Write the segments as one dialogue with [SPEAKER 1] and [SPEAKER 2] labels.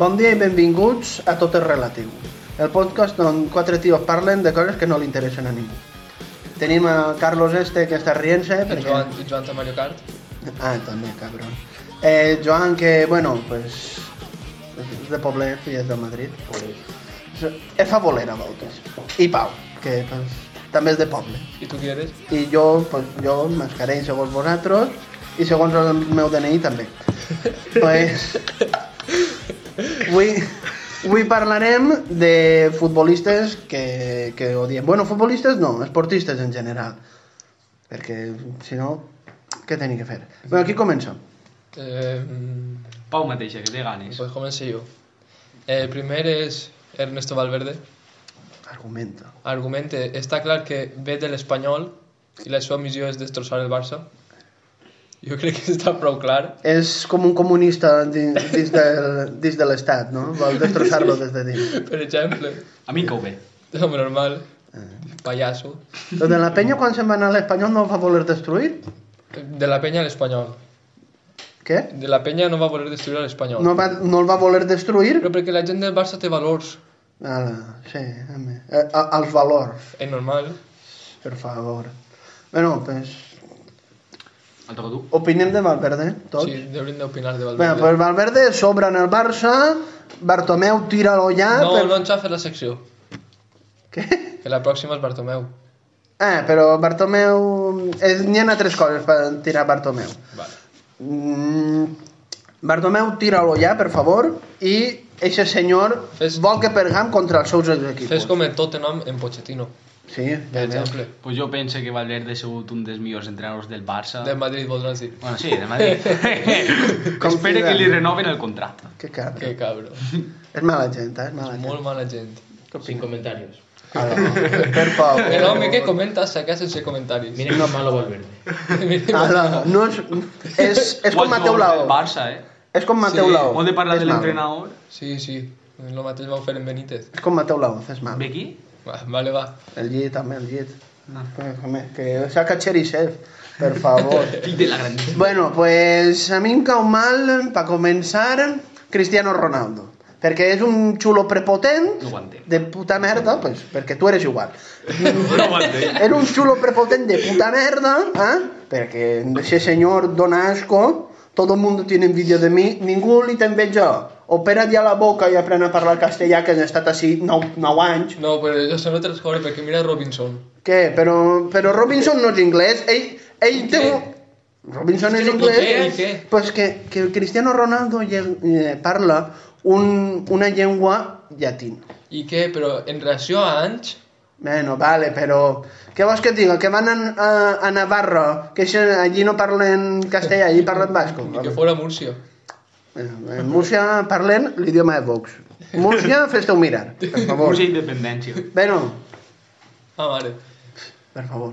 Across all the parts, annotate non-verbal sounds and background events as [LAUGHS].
[SPEAKER 1] Bon dia i benvinguts a Tot és Relatiu, el podcast on quatre tios parlen de coses que no li interessen a ningú. Tenim el Carlos Este, que està rient-se,
[SPEAKER 2] El
[SPEAKER 1] perquè...
[SPEAKER 2] Joan, el Joan de Mario Kart.
[SPEAKER 1] Ah, també, cabron. Eh, Joan, que, bueno, pues... És de Poblet i és de Madrid. És fa bolera, a voltes. I Pau, que pues, també és de poble.
[SPEAKER 2] I tu qui eres?
[SPEAKER 1] I jo, pues, jo mascarell segons vosaltres i segons el meu DNI també. pues, avui, avui parlarem de futbolistes que, que odiem. Bueno, futbolistes no, esportistes en general. Perquè, si no, què tenim que fer? Bé, aquí comença.
[SPEAKER 2] Eh, mm,
[SPEAKER 3] Pau mateixa, que té ganes.
[SPEAKER 2] pues començo jo. El primer és Ernesto Valverde.
[SPEAKER 1] Argumenta.
[SPEAKER 2] Argumente, està clar que ve de l'Espanyol i la seva missió és destrossar el Barça. Jo crec que està prou clar.
[SPEAKER 1] És com un comunista dins, dins, del, dins de l'estat, no? Vol destrossar-lo des de dins.
[SPEAKER 2] Per exemple,
[SPEAKER 3] A mi em cau bé.
[SPEAKER 2] home normal, pallasso.
[SPEAKER 1] Doncs Eh. la penya quan se'n va anar a l'Espanyol no el va voler destruir?
[SPEAKER 2] De la penya a l'Espanyol.
[SPEAKER 1] Què?
[SPEAKER 2] De la penya no va voler destruir l'Espanyol.
[SPEAKER 1] no, va, no el va voler destruir
[SPEAKER 2] Però perquè la gent del Barça té valors,
[SPEAKER 1] Ala, sí, home. Eh, a- els valors
[SPEAKER 2] és normal.
[SPEAKER 1] per favor bueno, pues,
[SPEAKER 3] El toco tu.
[SPEAKER 1] opinem de Valverde tots
[SPEAKER 2] Sí, deurien d'opinar de Valverde.
[SPEAKER 1] bueno, pues Valverde sobra en el Barça Bartomeu tira-lo ja
[SPEAKER 2] no,
[SPEAKER 1] Ah, per-
[SPEAKER 2] no ens ha fet la secció.
[SPEAKER 1] Què?
[SPEAKER 2] Que la pròxima és Bartomeu.
[SPEAKER 1] Ah, però Bartomeu... Eh, N'hi ha tres coses per tirar Bartomeu.
[SPEAKER 2] Vale.
[SPEAKER 1] Mm, Bartomeu, tira-lo ja, per favor, i eixe senyor
[SPEAKER 2] Fes-
[SPEAKER 1] vol que pergam contra els seus equips.
[SPEAKER 2] Fes com el Tottenham en Pochettino,
[SPEAKER 1] Sí,
[SPEAKER 2] per
[SPEAKER 1] ja veus.
[SPEAKER 2] exemple.
[SPEAKER 3] Pues jo penso que Valverde ha sigut un dels millors entrenadors del
[SPEAKER 1] Ah.
[SPEAKER 3] Barça.
[SPEAKER 2] De Madrid voldràs dir.
[SPEAKER 3] Bueno, sí, de
[SPEAKER 1] [LAUGHS]
[SPEAKER 3] Madrid. Com Espera
[SPEAKER 1] Zidane.
[SPEAKER 3] que li renoven el contracte.
[SPEAKER 1] Que cabra. [LAUGHS]
[SPEAKER 2] Que cabro.
[SPEAKER 1] És mala gent, eh? És mala gent.
[SPEAKER 2] Molt mala gent.
[SPEAKER 4] Sin comentarios.
[SPEAKER 1] Aló, per favor.
[SPEAKER 2] El home que comenta s'acaba sense comentaris.
[SPEAKER 4] Miren lo malo volver.
[SPEAKER 2] Mira,
[SPEAKER 1] Aló, no és, és, és com
[SPEAKER 3] Molt
[SPEAKER 1] Mateu
[SPEAKER 3] jugador del
[SPEAKER 1] Lao.
[SPEAKER 3] Barça, eh?
[SPEAKER 1] És com Mateu
[SPEAKER 2] Sí,
[SPEAKER 1] Lao.
[SPEAKER 3] Molt de parlar
[SPEAKER 1] És
[SPEAKER 3] de
[SPEAKER 1] mal.
[SPEAKER 3] l'entrenador.
[SPEAKER 2] Sí, sí. El mateix vau fer en Benítez.
[SPEAKER 1] És com Mateu Lao, és mal.
[SPEAKER 3] Ve aquí?
[SPEAKER 2] Va, vale, va.
[SPEAKER 1] El llit, també, el llit.
[SPEAKER 3] Ah.
[SPEAKER 1] Pues, home, que saca Cherisev, per
[SPEAKER 3] [LAUGHS]
[SPEAKER 1] favor.
[SPEAKER 3] Fill de la
[SPEAKER 1] [LAUGHS]
[SPEAKER 3] grandíssima.
[SPEAKER 1] bueno, pues a mi em cau mal, per començar, Cristiano Ronaldo. Perquè és un xulo prepotent,
[SPEAKER 3] No ho entenc.
[SPEAKER 1] de puta merda, pues, perquè tu eres igual.
[SPEAKER 3] No ho entenc.
[SPEAKER 1] Era un xulo prepotent de puta merda, ¿eh? Porque ese señor don asco, todo el mundo tiene envidia de mí, ningú li té enveja. Opera't ja la boca i aprèn a parlar castellà, que has estat així 9, 9 anys.
[SPEAKER 2] No, però jo són altres coses, perquè mira Robinson.
[SPEAKER 1] Què? Però, però Robinson no és anglès, ell, ell
[SPEAKER 2] I
[SPEAKER 1] té
[SPEAKER 2] què?
[SPEAKER 1] un... Robinson
[SPEAKER 2] És
[SPEAKER 1] és
[SPEAKER 2] que no
[SPEAKER 1] anglès,
[SPEAKER 2] té, i què?
[SPEAKER 1] pues que, que Cristiano Ronaldo lle- eh, parla un, una llengua llatina.
[SPEAKER 2] I què? Però en relació a anys,
[SPEAKER 1] Bueno, vale, però... Què vols que et diga? Que van a, a, a Navarra, que xe, allí no parlen castellà, allí parlen basco.
[SPEAKER 2] ni que fora Múrcia.
[SPEAKER 1] Bueno, En Múrcia parlen l'idioma de Vox. Múrcia, fes-te-ho mirar, per favor.
[SPEAKER 3] Música independència.
[SPEAKER 1] Bueno,
[SPEAKER 2] Ah, mare.
[SPEAKER 1] per favor.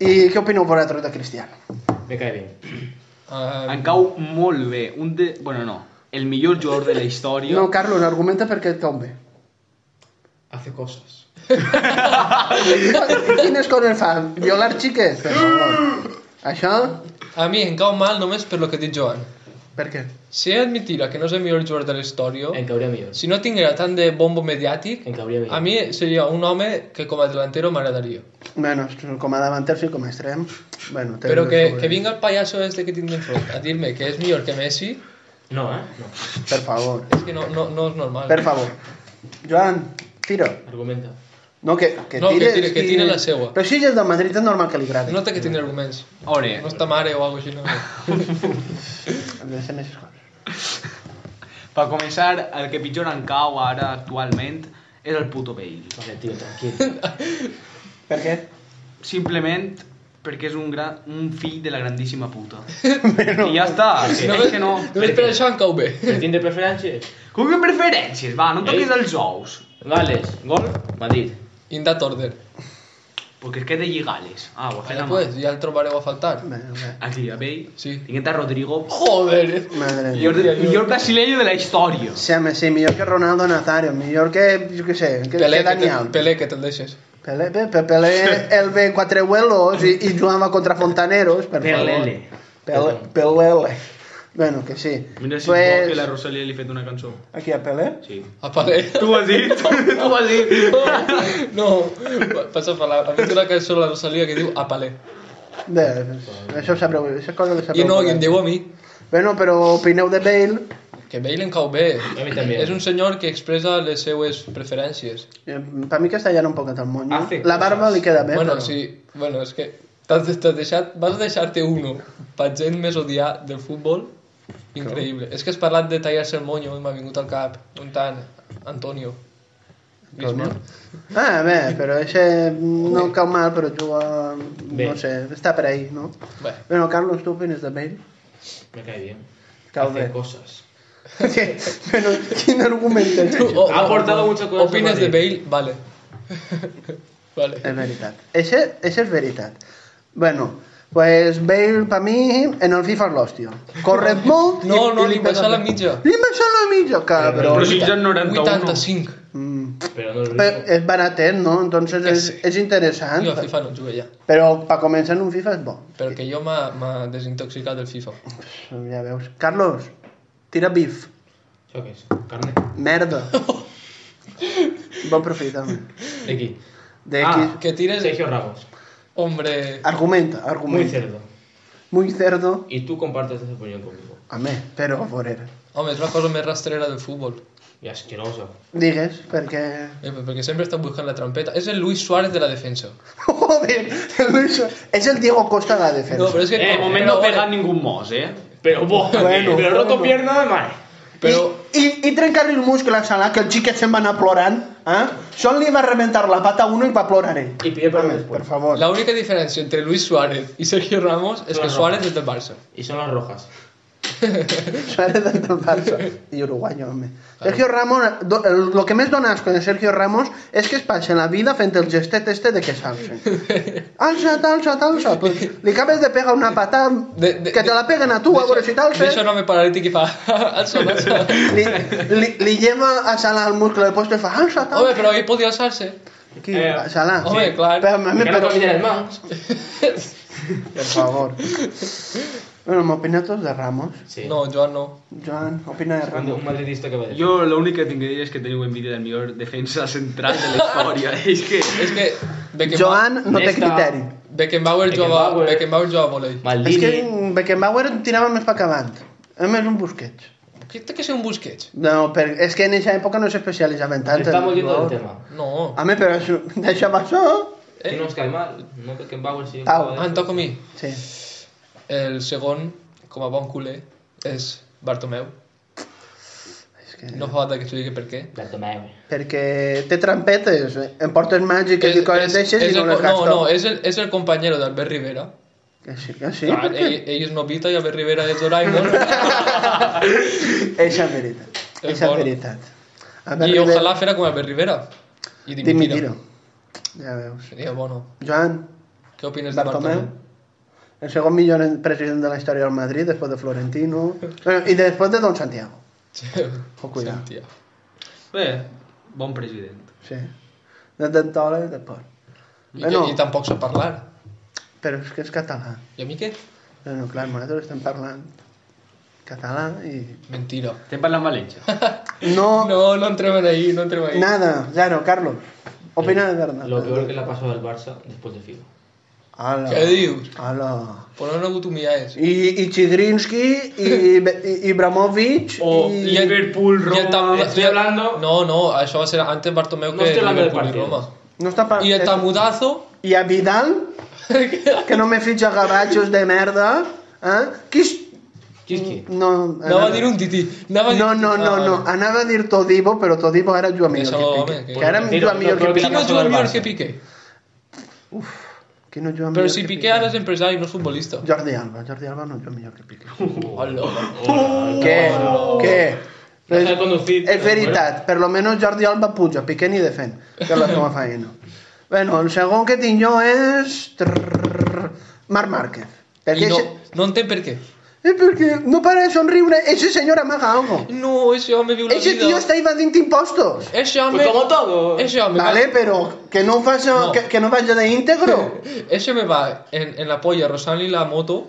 [SPEAKER 1] I què opineu vosaltres de Cristiano?
[SPEAKER 4] Me cae bien.
[SPEAKER 2] Ah,
[SPEAKER 3] Em cau molt bé. Un de... Bueno, no. El millor jugador de la història.
[SPEAKER 1] No, Carlos, argumenta per què et cau bé.
[SPEAKER 4] Hace cosas.
[SPEAKER 1] [LAUGHS] Quines coses fa? Violar xiques? Per favor. Això?
[SPEAKER 2] a mi em cau mal només per lo que ha dit Joan.
[SPEAKER 1] Per què?
[SPEAKER 2] Si ell admitira que no és el millor jugador de la història,
[SPEAKER 4] En Cauría mío.
[SPEAKER 2] si no tinguera tant de bombo mediàtic,
[SPEAKER 4] En Cauría mío.
[SPEAKER 2] a mi seria un home que com a delantero m'agradaria.
[SPEAKER 1] Bueno, com a davanter sí, com a extrem. Bueno, té
[SPEAKER 2] Però
[SPEAKER 1] les
[SPEAKER 2] que,
[SPEAKER 1] seves-
[SPEAKER 2] que vinga el pallasso este que tinc enfront a dir-me que és millor que Messi,
[SPEAKER 4] No, ¿eh? No.
[SPEAKER 1] Per favor.
[SPEAKER 2] és que no, no, no és normal.
[SPEAKER 1] Per favor. Joan, tira.
[SPEAKER 4] Argumenta.
[SPEAKER 1] No, que, que
[SPEAKER 2] No, que
[SPEAKER 1] tires,
[SPEAKER 2] tire- que tire la seua.
[SPEAKER 1] Però si ell és de Madrid, és normal ¿eh? que li agradi. No.
[SPEAKER 2] Nota que tindré arguments.
[SPEAKER 3] A veure,
[SPEAKER 2] No està mare o
[SPEAKER 3] [LAUGHS]
[SPEAKER 2] alguna cosa així.
[SPEAKER 1] Deixem aquestes coses.
[SPEAKER 3] per començar, el que pitjor em cau ara actualment és el puto Bale.
[SPEAKER 4] Vale, tío, tranquilo.
[SPEAKER 1] Per què?
[SPEAKER 3] simplement perquè és un, gran, un fill de la grandíssima
[SPEAKER 2] [LAUGHS]
[SPEAKER 3] puta. I ja està,
[SPEAKER 4] Sí.
[SPEAKER 3] és que no...
[SPEAKER 2] Només per això em cau bé.
[SPEAKER 4] Partit de preferències?
[SPEAKER 3] Com que preferències, va, no em
[SPEAKER 2] Eh?
[SPEAKER 3] toquis els ous.
[SPEAKER 4] Gales, gol, Madrid.
[SPEAKER 2] In that order.
[SPEAKER 3] Perquè és que he de lligales. Ah, ho ha fet
[SPEAKER 2] Vale,
[SPEAKER 3] la mà.
[SPEAKER 2] pues, ja el trobareu a faltar.
[SPEAKER 1] Madre,
[SPEAKER 3] Aquí, a Bell.
[SPEAKER 2] Sí.
[SPEAKER 3] Tingueta Rodrigo.
[SPEAKER 2] Joder.
[SPEAKER 1] madre mía.
[SPEAKER 3] Millor, millor brasileño de la història.
[SPEAKER 1] O sea, me- sí, mejor que Ronaldo Nazario, mejor que, yo qué sé, que,
[SPEAKER 2] Pelé,
[SPEAKER 1] que
[SPEAKER 2] que
[SPEAKER 1] Dani
[SPEAKER 2] te,
[SPEAKER 1] Alves.
[SPEAKER 2] Pelé, que te'l deixes.
[SPEAKER 1] Pelé, Pe- Pe-
[SPEAKER 2] [LAUGHS]
[SPEAKER 1] Pelé, él ve cuatro vuelos y, y jugaba contra Fontaneros, por favor.
[SPEAKER 4] Pelele.
[SPEAKER 1] Pelé. Pelele. Bueno, que sí.
[SPEAKER 3] Mira si
[SPEAKER 1] Pues-
[SPEAKER 3] que la Rosalia li ha fet una cançó.
[SPEAKER 1] Aquí a Pelé.
[SPEAKER 3] Sí.
[SPEAKER 2] A Pelé.
[SPEAKER 3] Tu ho has
[SPEAKER 4] [LAUGHS]
[SPEAKER 3] dit? tu ho has dit?
[SPEAKER 2] [LAUGHS] No, pa- passa per la... Ha fet una cançó a la Rosalia que diu a Pelé.
[SPEAKER 1] De, això sabreu, això és cosa que sabreu.
[SPEAKER 2] I no, i
[SPEAKER 1] vosaltres.
[SPEAKER 2] em diu a mi.
[SPEAKER 1] Bueno, però opineu de Bale,
[SPEAKER 2] Que Bale em cau bé.
[SPEAKER 4] A mi també.
[SPEAKER 2] És un senyor que expressa les seues preferències.
[SPEAKER 1] eh, per mi que està ja un poquet al moño.
[SPEAKER 4] Hace
[SPEAKER 1] La barba
[SPEAKER 4] cosas.
[SPEAKER 1] li queda bé,
[SPEAKER 2] Ah, bueno,
[SPEAKER 1] però...
[SPEAKER 2] sí, bueno, és que t'has de- t'has deixat, vas deixar-te uno per gent més odiar del futbol. Increïble. És que has parlat de tallar-se el moño i m'ha vingut al cap un tant Antonio. Griezmann.
[SPEAKER 1] Ah, bé, però això no cau mal, però juga...
[SPEAKER 4] Bé.
[SPEAKER 1] No sé, està per ahí, no?
[SPEAKER 2] Bé,
[SPEAKER 1] Bueno, Carlos, tu opines de Bale?
[SPEAKER 4] Me cae bien.
[SPEAKER 1] Cau
[SPEAKER 4] Hace
[SPEAKER 1] bé. [LAUGHS]
[SPEAKER 4] cosas.
[SPEAKER 1] Que- Bueno, quin argument tens?
[SPEAKER 2] Tu, oh,
[SPEAKER 4] Ha
[SPEAKER 2] oh,
[SPEAKER 4] aportado muchas cosas
[SPEAKER 2] Opines
[SPEAKER 4] a
[SPEAKER 2] de
[SPEAKER 4] Madrid.
[SPEAKER 2] Bale? Vale. vale. [LAUGHS]
[SPEAKER 1] És veritat. Això, això és veritat. Bueno, pues Bale, per mi, en el FIFA és l'hòstia. Corre molt... i-
[SPEAKER 2] No, no,
[SPEAKER 1] i
[SPEAKER 2] li baixar la mitja. Eh,
[SPEAKER 1] Li baixar la mitja, cabró.
[SPEAKER 3] Però si ja en 91.
[SPEAKER 2] 85.
[SPEAKER 1] Mm.
[SPEAKER 4] Pero no es lo
[SPEAKER 1] Però
[SPEAKER 4] mismo.
[SPEAKER 1] és baratet, no? Entonces
[SPEAKER 2] Que
[SPEAKER 1] és,
[SPEAKER 2] sí.
[SPEAKER 1] és interessant.
[SPEAKER 2] Jo a FIFA no jugo ja.
[SPEAKER 1] Però per començar en un FIFA és bo.
[SPEAKER 2] Però que jo m'ha m'ha desintoxicat del FIFA.
[SPEAKER 1] Ja veus. Carlos, tira bif.
[SPEAKER 4] ¿Eso qué es? ¿Carne? [LAUGHS]
[SPEAKER 1] Merda. bon aprofitament.
[SPEAKER 4] ¿De aquí?
[SPEAKER 1] De
[SPEAKER 4] Ah.
[SPEAKER 1] X.
[SPEAKER 2] Que tires...
[SPEAKER 4] Sergio Ramos.
[SPEAKER 2] Hombre...
[SPEAKER 1] Argumenta,
[SPEAKER 4] Muy
[SPEAKER 1] argumenta.
[SPEAKER 4] cerdo.
[SPEAKER 1] Muy cerdo.
[SPEAKER 4] Y tú compartes esa opinión conmigo.
[SPEAKER 1] Home, però, a veure.
[SPEAKER 2] Home, és la cosa més rastrera del futbol.
[SPEAKER 4] Y asqueroso.
[SPEAKER 1] Digues, perquè... [LAUGHS]
[SPEAKER 2] Eh, però perquè sempre està buscant la trampeta. És el Luis Suárez de la defensa.
[SPEAKER 1] Joder, Luis, es el Diego Costa de la defensa.
[SPEAKER 2] No, però és que...
[SPEAKER 4] Eh,
[SPEAKER 3] De moment
[SPEAKER 2] però,
[SPEAKER 3] no
[SPEAKER 2] bueno,
[SPEAKER 3] pega ningú mos, eh?
[SPEAKER 4] Pero vos,
[SPEAKER 1] Bueno,
[SPEAKER 4] pero no
[SPEAKER 1] bueno.
[SPEAKER 4] roto pierna de mal.
[SPEAKER 2] Però...
[SPEAKER 1] I, i, i trencar-li el muscle a Salah, que el xiquet se'n va anar plorant. Eh? Sol li va rebentar la pata a uno i va plorar ell.
[SPEAKER 4] I pide perdó
[SPEAKER 1] Home,
[SPEAKER 4] després.
[SPEAKER 1] Per favor. La...
[SPEAKER 2] La única diferència entre Luis Suárez i Sergio Ramos és que
[SPEAKER 4] Claro.
[SPEAKER 2] Suárez és del Barça.
[SPEAKER 4] Y son las rojas.
[SPEAKER 1] Suárez del Barça. I uruguayo, home. Sergio Ramos, do, el, lo que més dona asco de Sergio Ramos és que es passa la vida fent el gestet este de que s'alça. Alça't, alça't, alça't. Pues, li acabes de pegar una patada
[SPEAKER 2] De- de-
[SPEAKER 1] que te la peguen a tu, a veure si t'alces.
[SPEAKER 2] Deixa un home paralític i fa... [LAUGHS]
[SPEAKER 1] [LAUGHS]
[SPEAKER 2] alça, alça.
[SPEAKER 1] Li, li, li lleva a Salah el muscle del post i fa alça't,
[SPEAKER 2] Home,
[SPEAKER 1] alça't.
[SPEAKER 2] però ell podia alçar-se.
[SPEAKER 1] Qui?
[SPEAKER 4] Eh,
[SPEAKER 1] Salah.
[SPEAKER 2] Home, clar.
[SPEAKER 1] Però, mami,
[SPEAKER 4] Que no
[SPEAKER 1] però...
[SPEAKER 4] caminan más.
[SPEAKER 1] Per favor. bueno, m'opina tots de Ramos.
[SPEAKER 4] Sí.
[SPEAKER 2] No, Joan no.
[SPEAKER 1] Joan, opina de
[SPEAKER 4] Cuando
[SPEAKER 1] Ramos.
[SPEAKER 4] un madridista que va a decir.
[SPEAKER 3] Jo l'únic que tinc que dir és que teniu envidia del millor defensa central de la història. [LAUGHS] és que...
[SPEAKER 2] És que... Beckenbau-
[SPEAKER 1] Joan no té
[SPEAKER 4] Esta-
[SPEAKER 1] criteri.
[SPEAKER 2] Beckenbauer jugava,
[SPEAKER 4] Beckenbauer.
[SPEAKER 2] Beckenbauer jugava a volei.
[SPEAKER 1] És
[SPEAKER 4] Maldini.
[SPEAKER 1] que mm, Beckenbauer tirava més per acabant. A més, un Busquets.
[SPEAKER 2] Què té que ser un Busquets?
[SPEAKER 1] No, per... és que en aquesta època no s'especialitzaven tant. en
[SPEAKER 4] Estamos yendo del
[SPEAKER 1] jugadors.
[SPEAKER 4] tema.
[SPEAKER 2] No. Eh,
[SPEAKER 1] Home, però això... [LAUGHS] deixa'm això. Eh.
[SPEAKER 4] Que no nos cae mal. No que Bauer sí.
[SPEAKER 1] Au.
[SPEAKER 2] Ah, em toca a mi.
[SPEAKER 1] Sí.
[SPEAKER 2] El segon, com a bon culer, és Bartomeu.
[SPEAKER 1] És que...
[SPEAKER 2] No fa falta que t'ho digui per què.
[SPEAKER 4] Bartomeu.
[SPEAKER 1] Perquè té trampetes, eh? em portes màgiques i coses d'aixes i
[SPEAKER 2] és
[SPEAKER 1] no
[SPEAKER 2] el,
[SPEAKER 1] les
[SPEAKER 2] no,
[SPEAKER 1] gasto.
[SPEAKER 2] no, és el, és el companyero d'Albert Rivera. Ah, e-,
[SPEAKER 1] Que sí, que sí,
[SPEAKER 2] Clar,
[SPEAKER 1] per què?
[SPEAKER 2] ell, ell és Novita i Albert Rivera és
[SPEAKER 1] [LAUGHS]
[SPEAKER 2] Doraemon.
[SPEAKER 1] Eixa [CLEARS THROAT] és veritat.
[SPEAKER 2] És
[SPEAKER 1] Eixa és
[SPEAKER 2] bona.
[SPEAKER 1] veritat. A
[SPEAKER 2] I
[SPEAKER 1] Rivera-
[SPEAKER 2] ojalà fera com Albert Rivera. I
[SPEAKER 1] Dimitiro.
[SPEAKER 2] dimitira.
[SPEAKER 1] Ja veus.
[SPEAKER 2] Seria bueno.
[SPEAKER 1] Joan,
[SPEAKER 2] Què opines de
[SPEAKER 1] Bartomeu,
[SPEAKER 2] Bartomeu?
[SPEAKER 1] el segon millor president de la història del Madrid, després de Florentino,
[SPEAKER 2] [LAUGHS]
[SPEAKER 1] bueno, i després de Don Santiago. Ojo, Oh, cuidado.
[SPEAKER 2] Sentia.
[SPEAKER 3] Bé, bon president.
[SPEAKER 1] Sí. eh, De Dentola i després.
[SPEAKER 2] I,
[SPEAKER 1] Bueno.
[SPEAKER 2] que- I tampoc sap parlar.
[SPEAKER 1] Però és que és català.
[SPEAKER 2] I a mi què?
[SPEAKER 1] Bueno, clar, nosaltres estem parlant català i...
[SPEAKER 2] Mentira.
[SPEAKER 3] Estem parlant valencià.
[SPEAKER 1] No, no.
[SPEAKER 2] No, no entrem en ahí, no entrem ahí.
[SPEAKER 1] nada, zero, Carlos. Opina de Bernat.
[SPEAKER 4] Lo peor que le ha pasado al Barça después de Figo.
[SPEAKER 1] Hola.
[SPEAKER 2] Què dius?
[SPEAKER 1] Hola.
[SPEAKER 2] Por on algú tu miraves?
[SPEAKER 1] I, i Chigrinsky, i, i, i Ibrahimovic,
[SPEAKER 4] O
[SPEAKER 1] i...
[SPEAKER 2] el-
[SPEAKER 3] Liverpool,
[SPEAKER 2] i el
[SPEAKER 3] Roma,
[SPEAKER 2] Tamu-
[SPEAKER 4] estoy
[SPEAKER 2] i el-
[SPEAKER 4] hablando-
[SPEAKER 2] No, no, això va ser antes Bartomeu
[SPEAKER 4] No
[SPEAKER 2] que
[SPEAKER 4] estoy hablando del
[SPEAKER 2] Liverpool y
[SPEAKER 4] partido.
[SPEAKER 2] Roma.
[SPEAKER 1] No està pa...
[SPEAKER 2] I el [LAUGHS] Tamudazo...
[SPEAKER 1] I a Vidal, que no me fitxa gavatxos de merda, eh? Qui és...
[SPEAKER 4] Chiski.
[SPEAKER 1] No,
[SPEAKER 2] Anava a dir un tití. Anava a dir...
[SPEAKER 1] No, no, no, no,
[SPEAKER 2] Ah,
[SPEAKER 1] anava a dir Todibo, però Todivo ara juga millor
[SPEAKER 2] Deixa-ho,
[SPEAKER 1] que
[SPEAKER 2] home,
[SPEAKER 1] Piqué.
[SPEAKER 2] que-
[SPEAKER 1] Que ara em
[SPEAKER 4] Bueno,
[SPEAKER 1] juga
[SPEAKER 4] tira,
[SPEAKER 1] millor
[SPEAKER 4] no,
[SPEAKER 1] que
[SPEAKER 4] però
[SPEAKER 1] Piqué.
[SPEAKER 2] Qui no
[SPEAKER 4] Barça
[SPEAKER 2] juga
[SPEAKER 4] del
[SPEAKER 2] millor
[SPEAKER 4] Barça.
[SPEAKER 2] que Piqué?
[SPEAKER 1] Qui no juga
[SPEAKER 2] Però
[SPEAKER 1] millor
[SPEAKER 2] si
[SPEAKER 1] que
[SPEAKER 2] Piqué ara és empresari, no és futbolista.
[SPEAKER 1] Jordi Alba, Jordi Alba no juga millor que Piqué.
[SPEAKER 2] Hola.
[SPEAKER 1] Què? Què?
[SPEAKER 4] Deja de conducir.
[SPEAKER 1] És veritat, per lo menos Jordi Alba puja, Piqué ni defèn, que és la seva feina. Bueno, el segon que tinc jo és... trrrr, Marc Márquez.
[SPEAKER 2] I
[SPEAKER 1] Perquè
[SPEAKER 2] no,
[SPEAKER 1] no.
[SPEAKER 2] no entenc per què.
[SPEAKER 1] És perquè no para de somriure, ese senyor amaga algo.
[SPEAKER 2] No, ese home viu la
[SPEAKER 1] Ese
[SPEAKER 2] vida.
[SPEAKER 1] tio està evadint impostos.
[SPEAKER 2] Ese home...
[SPEAKER 4] Pues como todo.
[SPEAKER 2] Ese home...
[SPEAKER 1] Vale, però que no, faça,
[SPEAKER 2] Ah, No.
[SPEAKER 1] Que, que no vagi de íntegro.
[SPEAKER 2] [LAUGHS] Ese me va en, en la polla rozant-li la moto.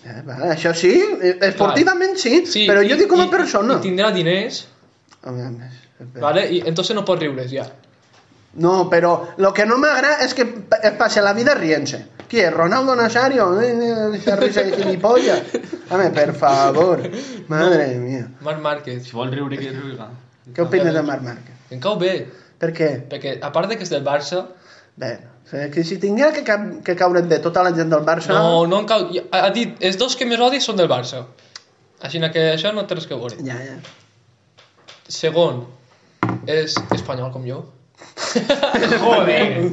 [SPEAKER 1] Eh, vale, això sí, eh, esportivament sí, sí però jo
[SPEAKER 2] i-
[SPEAKER 1] dic com a
[SPEAKER 2] i-
[SPEAKER 1] persona.
[SPEAKER 2] I tindrà diners,
[SPEAKER 1] A veure, més, espera.
[SPEAKER 2] vale? I entonces no pot riure's, ja.
[SPEAKER 1] No, però lo que no m'agrada és que pa- es passe la vida rient-se. Qui és? Ronaldo Nazario? Eh, eh, Esa risa de gilipollas. Home, per favor. Madre mía.
[SPEAKER 2] Marc Márquez.
[SPEAKER 3] Si vol riure, que riure.
[SPEAKER 1] Què opines de Marc Márquez?
[SPEAKER 2] Em cau bé,
[SPEAKER 1] Per què?
[SPEAKER 2] perquè a part de que és del Barça,
[SPEAKER 1] Bé, eh, que si tinguera que, ca- que caure bé tota la gent del Barça...
[SPEAKER 2] no, no em cau... i- Ha ha dit, els dos que més odi són del Barça. Així que això no té res que veure.
[SPEAKER 1] Ja, ja.
[SPEAKER 2] Segon, és espanyol com jo.
[SPEAKER 4] [LAUGHS]
[SPEAKER 1] [LAUGHS]
[SPEAKER 4] Joder.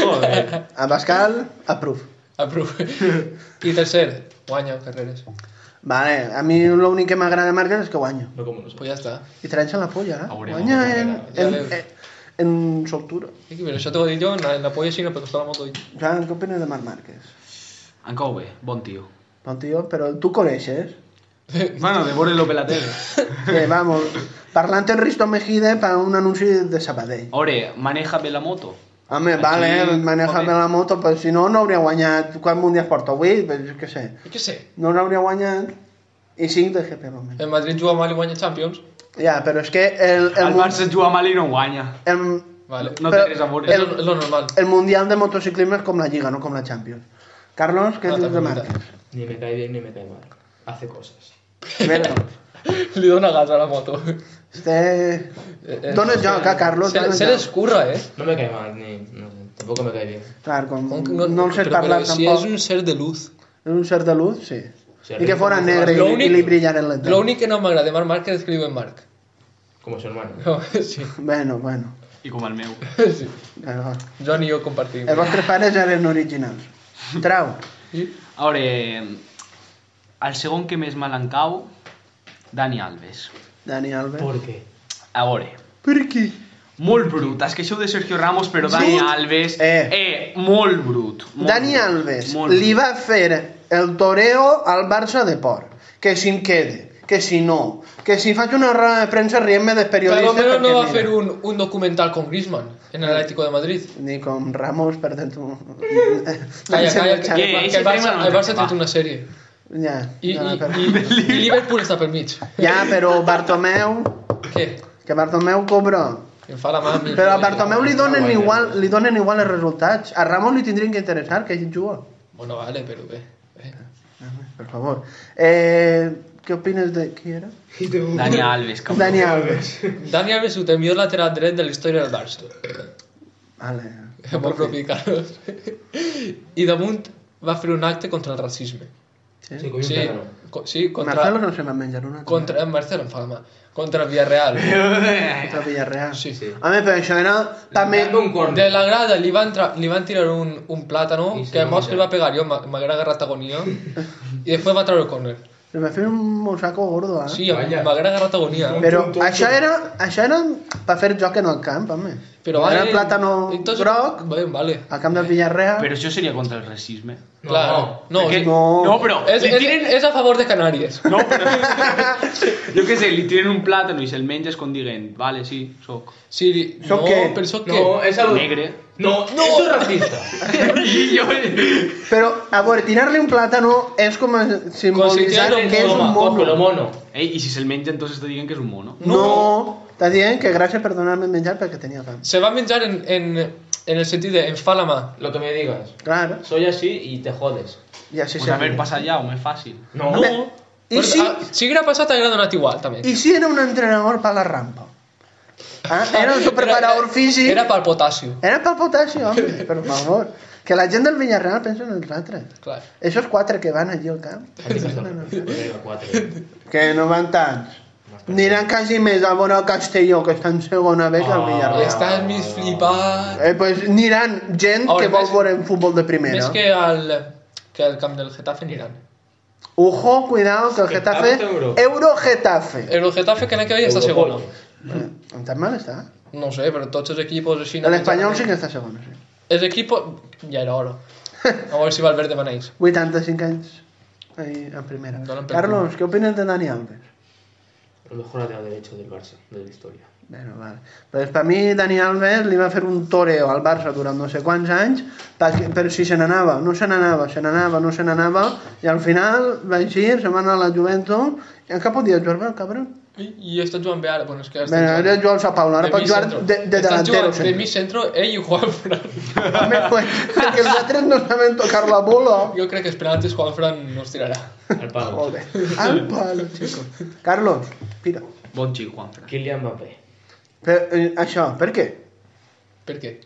[SPEAKER 4] Joder.
[SPEAKER 1] Abascal, approve.
[SPEAKER 2] Apro-
[SPEAKER 1] [LAUGHS]
[SPEAKER 2] I tercer, guanya carreres.
[SPEAKER 1] Vale, a mi l'únic que m'agrada de Márquez és que guanyo.
[SPEAKER 4] No como nosotros.
[SPEAKER 2] Pues ja està.
[SPEAKER 1] I trenxa la polla, eh?
[SPEAKER 3] Veurem,
[SPEAKER 1] Guanya en,
[SPEAKER 2] ja
[SPEAKER 1] en,
[SPEAKER 2] veus.
[SPEAKER 1] en, en soltura.
[SPEAKER 2] I que, però això t'ho he dit jo, en la, en la polla xina per costar la moto. i-
[SPEAKER 1] Ja, què opines de Marc Márquez?
[SPEAKER 3] Em cau bé, bon tio.
[SPEAKER 1] Bon tio, però tu coneixes.
[SPEAKER 3] Bueno, de veure-lo per la tele.
[SPEAKER 1] Eh, vamos, parlante Risto Mejide para un anuncio de Sabadell.
[SPEAKER 3] Ore, maneja bé la moto.
[SPEAKER 1] Home, vale,
[SPEAKER 3] Aquí,
[SPEAKER 1] maneja bé
[SPEAKER 3] joder.
[SPEAKER 1] la moto, però si no, no hauria guanyat... Quants mundials porta? 8? Pues, què sé.
[SPEAKER 2] Jo què sé,
[SPEAKER 1] No n'hauria guanyat... I 5 de GP, almenys.
[SPEAKER 2] el Madrid juga mal i guanya Champions.
[SPEAKER 1] Ja, però és que el,
[SPEAKER 3] El,
[SPEAKER 1] el, mun-
[SPEAKER 3] Barça juga mal i no guanya.
[SPEAKER 1] el,
[SPEAKER 2] Vale.
[SPEAKER 3] No té
[SPEAKER 1] Però
[SPEAKER 3] res a veure.
[SPEAKER 2] És, lo, és lo normal. [LAUGHS]
[SPEAKER 1] el Mundial de motociclisme és com la Lliga, no com la Champions. Carlos, què
[SPEAKER 2] No,
[SPEAKER 1] dius de
[SPEAKER 2] també
[SPEAKER 1] Marc?
[SPEAKER 4] Ni me cae bien ni me cae mal. Hace cosas.
[SPEAKER 1] Primero,
[SPEAKER 2] Li dona gas a la moto.
[SPEAKER 1] este...
[SPEAKER 2] Eh, eh,
[SPEAKER 1] Dóna joc a Carlos,
[SPEAKER 2] Se,
[SPEAKER 1] dóna
[SPEAKER 2] se
[SPEAKER 1] joc.
[SPEAKER 2] l'escurra, eh?
[SPEAKER 4] No me cae mal ni. No sé. Tampoco me cae bien.
[SPEAKER 1] Clar, com,
[SPEAKER 2] Com que
[SPEAKER 1] no, no el sé
[SPEAKER 2] però-
[SPEAKER 1] parlar
[SPEAKER 2] però Si
[SPEAKER 1] tampoc.
[SPEAKER 2] és un ser de luz.
[SPEAKER 1] És un cert de luz, sí.
[SPEAKER 4] Sí,
[SPEAKER 1] I que fora
[SPEAKER 4] com-
[SPEAKER 1] negre i,
[SPEAKER 2] L'únic-
[SPEAKER 1] i li brillaren les dents.
[SPEAKER 2] L'únic que no m'agrada de Marc Márquez és que li diuen Marc.
[SPEAKER 4] Como su hermano.
[SPEAKER 2] [LAUGHS] No, [LAUGHS] sí,
[SPEAKER 1] Bueno, bueno.
[SPEAKER 3] I com el meu.
[SPEAKER 2] sí.
[SPEAKER 1] Però
[SPEAKER 2] Joan i jo compartim.
[SPEAKER 1] Els vostres pares eren originals. Trau.
[SPEAKER 2] I-
[SPEAKER 3] A veure, el segon que més mal em cau, Dani Alves.
[SPEAKER 1] Dani Alves.
[SPEAKER 4] ¿Por qué?
[SPEAKER 1] ¿Eh?
[SPEAKER 3] A veure,
[SPEAKER 1] Per què?
[SPEAKER 3] molt brut. Es queixeu de Sergio Ramos, però Dani
[SPEAKER 1] Sí?
[SPEAKER 3] Alves...
[SPEAKER 1] Eh.
[SPEAKER 3] eh molt brut. Molt
[SPEAKER 1] Dani
[SPEAKER 3] brut,
[SPEAKER 1] Alves
[SPEAKER 3] molt
[SPEAKER 1] li
[SPEAKER 3] brut.
[SPEAKER 1] va fer el toreo al Barça de Port. Que si em quede, que si no, que si faig una roda de premsa rient-me dels
[SPEAKER 2] Per
[SPEAKER 1] periodistes...
[SPEAKER 2] almenys no
[SPEAKER 1] perquè
[SPEAKER 2] va
[SPEAKER 1] mira,
[SPEAKER 2] fer un, un documental con Griezmann en
[SPEAKER 1] Ah.
[SPEAKER 2] l'Atlético de Madrid.
[SPEAKER 1] Ni com Ramos perdent un...
[SPEAKER 2] Calla, calla, que,
[SPEAKER 1] Ja,
[SPEAKER 3] Eh,
[SPEAKER 2] que,
[SPEAKER 3] ese
[SPEAKER 2] el Barça,
[SPEAKER 3] tema no
[SPEAKER 2] el Barça ha
[SPEAKER 3] va.
[SPEAKER 2] tret una sèrie.
[SPEAKER 1] ja,
[SPEAKER 2] I,
[SPEAKER 1] ja,
[SPEAKER 2] i,
[SPEAKER 1] però...
[SPEAKER 2] i, i Liverpool està per mig.
[SPEAKER 1] ja, però Bartomeu...
[SPEAKER 2] Què?
[SPEAKER 1] Que Bartomeu cobra.
[SPEAKER 2] Em fa la mà a mi.
[SPEAKER 1] Però a Bartomeu li donen,
[SPEAKER 4] guanya.
[SPEAKER 1] igual, li donen igual els resultats. A Ramos li tindrien que interessar que ell juga.
[SPEAKER 2] Bueno, vale, però bé. bé.
[SPEAKER 1] Por favor. Eh, ¿Qué opinas de quién era?
[SPEAKER 3] Dani Alves, cabrón.
[SPEAKER 1] Dani Alves.
[SPEAKER 2] Dani Alves és el millor lateral dret de la història del Barça.
[SPEAKER 1] Vale.
[SPEAKER 2] Molt propi, Carlos. [LAUGHS] I damunt va fer un acte contra el racisme.
[SPEAKER 1] Sí.
[SPEAKER 4] Sí, comió un
[SPEAKER 2] Sí,
[SPEAKER 4] plátano.
[SPEAKER 2] co- sí
[SPEAKER 1] Marcelo
[SPEAKER 2] contra,
[SPEAKER 1] no se va a menjar una.
[SPEAKER 2] contra, en Marcelo em fa la mà. Contra el Villarreal.
[SPEAKER 1] [LAUGHS] Contra Villarreal.
[SPEAKER 2] Sí, sí.
[SPEAKER 1] Home, però això era... També...
[SPEAKER 4] Dame un corno.
[SPEAKER 2] De la grada li van, tra- li van tirar un, un plàtano
[SPEAKER 4] I se
[SPEAKER 2] que
[SPEAKER 4] va
[SPEAKER 2] a Mosca li va pegar jo, m'ha- m'haguera agarrat agonia
[SPEAKER 1] [LAUGHS]
[SPEAKER 2] i després va treure el corner.
[SPEAKER 1] Se va fer un mosaco gordo, eh?
[SPEAKER 2] Sí, a-
[SPEAKER 4] Vaya.
[SPEAKER 2] m'haguera agarrat agonia.
[SPEAKER 1] Però
[SPEAKER 4] Tonto, tonto.
[SPEAKER 1] això era, això era per fer joc en el camp, home.
[SPEAKER 2] Però
[SPEAKER 1] era
[SPEAKER 2] vale,
[SPEAKER 1] plàtano
[SPEAKER 2] entonces-
[SPEAKER 1] groc,
[SPEAKER 2] Vale, vale.
[SPEAKER 1] al camp del Villarreal.
[SPEAKER 3] Però això seria contra el racisme.
[SPEAKER 4] No.
[SPEAKER 2] Claro. No,
[SPEAKER 3] Perquè-
[SPEAKER 2] sí.
[SPEAKER 1] no.
[SPEAKER 3] no però...
[SPEAKER 2] és,
[SPEAKER 3] li
[SPEAKER 2] és,
[SPEAKER 3] tiren-
[SPEAKER 2] és a favor de Canàries.
[SPEAKER 3] No, però... jo què sé, li tiren un plàtano i se'l menges com diguen, vale, sí, soc.
[SPEAKER 2] Sí, li-
[SPEAKER 1] Sóc
[SPEAKER 2] no,
[SPEAKER 1] què?
[SPEAKER 2] però sóc
[SPEAKER 4] No,
[SPEAKER 2] què?
[SPEAKER 4] es algo.
[SPEAKER 3] Negre. [LAUGHS]
[SPEAKER 4] No, no. Eso es racista.
[SPEAKER 1] [LAUGHS]
[SPEAKER 3] I jo...
[SPEAKER 1] Però, a veure, tirar-li un plàtano és com a simbolitzar
[SPEAKER 2] Considerar-lo
[SPEAKER 1] que és un
[SPEAKER 4] Toma, cógelo,
[SPEAKER 1] mono.
[SPEAKER 4] mono.
[SPEAKER 3] Ei, i si se'l menja, entonces te diguen que és un mono.
[SPEAKER 1] No, estàs dient que gràcies per donar-me menjar perquè tenia fam.
[SPEAKER 2] Se va menjar en, en, en el sentit de em fa la mà.
[SPEAKER 4] Lo que me digas.
[SPEAKER 1] Claro,
[SPEAKER 4] Soy así y te jodes.
[SPEAKER 1] i així
[SPEAKER 3] Pues
[SPEAKER 1] s'ha
[SPEAKER 3] a ver,
[SPEAKER 1] dit.
[SPEAKER 3] passa allà, home, és fàcil.
[SPEAKER 4] No.
[SPEAKER 1] Home, I
[SPEAKER 2] Però,
[SPEAKER 1] si,
[SPEAKER 2] ah, si haguera passat, haguera donat igual, també.
[SPEAKER 1] I si era un entrenador per la rampa? Ah, era un superparador físic.
[SPEAKER 2] Era pel potassi,
[SPEAKER 1] Era pel potassi, home, per favor. Que la gent del Villarreal pensa en els altres.
[SPEAKER 2] clar.
[SPEAKER 1] Esos quatre que van allí al camp. [LAUGHS]
[SPEAKER 4] Antes de- Porque era Pues cuatro.
[SPEAKER 1] Que no van tants. Aniran quasi més a veure el Castelló, que està en segona B, que el
[SPEAKER 4] Ah.
[SPEAKER 1] Villarreal.
[SPEAKER 2] Estàs més flipat.
[SPEAKER 1] Eh, pues aniran gent
[SPEAKER 2] A veure,
[SPEAKER 1] que vol
[SPEAKER 2] més-
[SPEAKER 1] veure en futbol de primera.
[SPEAKER 2] Més que al, que al camp del Getafe aniran.
[SPEAKER 1] Ojo, cuidado, que el Getafe...
[SPEAKER 4] Getafe, Euro.
[SPEAKER 1] Euro Getafe.
[SPEAKER 2] El Getafe que n'ha que veia està
[SPEAKER 4] Europol.
[SPEAKER 2] segona.
[SPEAKER 1] Eh, Tan mal està.
[SPEAKER 2] No sé, però tots els equipos així...
[SPEAKER 1] El espanyol sí que està segon, sí.
[SPEAKER 2] Els equipos... Ja era
[SPEAKER 1] [LAUGHS]
[SPEAKER 2] hora. A veure si Valverde maneix.
[SPEAKER 1] 85 anys ahí, en primera.
[SPEAKER 2] Donen per
[SPEAKER 1] Carlos, ¿qué opinas de Dani Alves?
[SPEAKER 4] El mejor lateral derecho del Barça, de la
[SPEAKER 1] [LAUGHS]
[SPEAKER 4] historia.
[SPEAKER 1] Bueno, vale. Pues per mi Dani Alves li va fer un toreo al Barça durant no sé quants anys, perquè, però si se n'anava, no se n'anava, se n'anava, no se n'anava, i al final va eixir, se va anar a la Juventus, i encara podia jugar bé, el cabrón.
[SPEAKER 2] I, i està jugant bé ara, bueno, és que... està
[SPEAKER 1] Bé, ara
[SPEAKER 2] jugant
[SPEAKER 1] juga al Sao Paulo, ara
[SPEAKER 2] de
[SPEAKER 1] pot jugar
[SPEAKER 2] migcentro.
[SPEAKER 1] de, de
[SPEAKER 2] Estan
[SPEAKER 1] delantero.
[SPEAKER 2] jugant
[SPEAKER 1] sempre.
[SPEAKER 2] De mig centro, ell i Juanfran.
[SPEAKER 1] Home, pues, que els altres no saben tocar la bola.
[SPEAKER 2] [LAUGHS] Jo crec que esperant és Juanfran no es tirarà.
[SPEAKER 4] Al palo.
[SPEAKER 1] Joder, al palo, chicos. Carlos, mira.
[SPEAKER 3] Bon xic, Juanfran.
[SPEAKER 4] Kylian Mbappé,
[SPEAKER 1] Però, eh, això, per què?
[SPEAKER 2] Per què?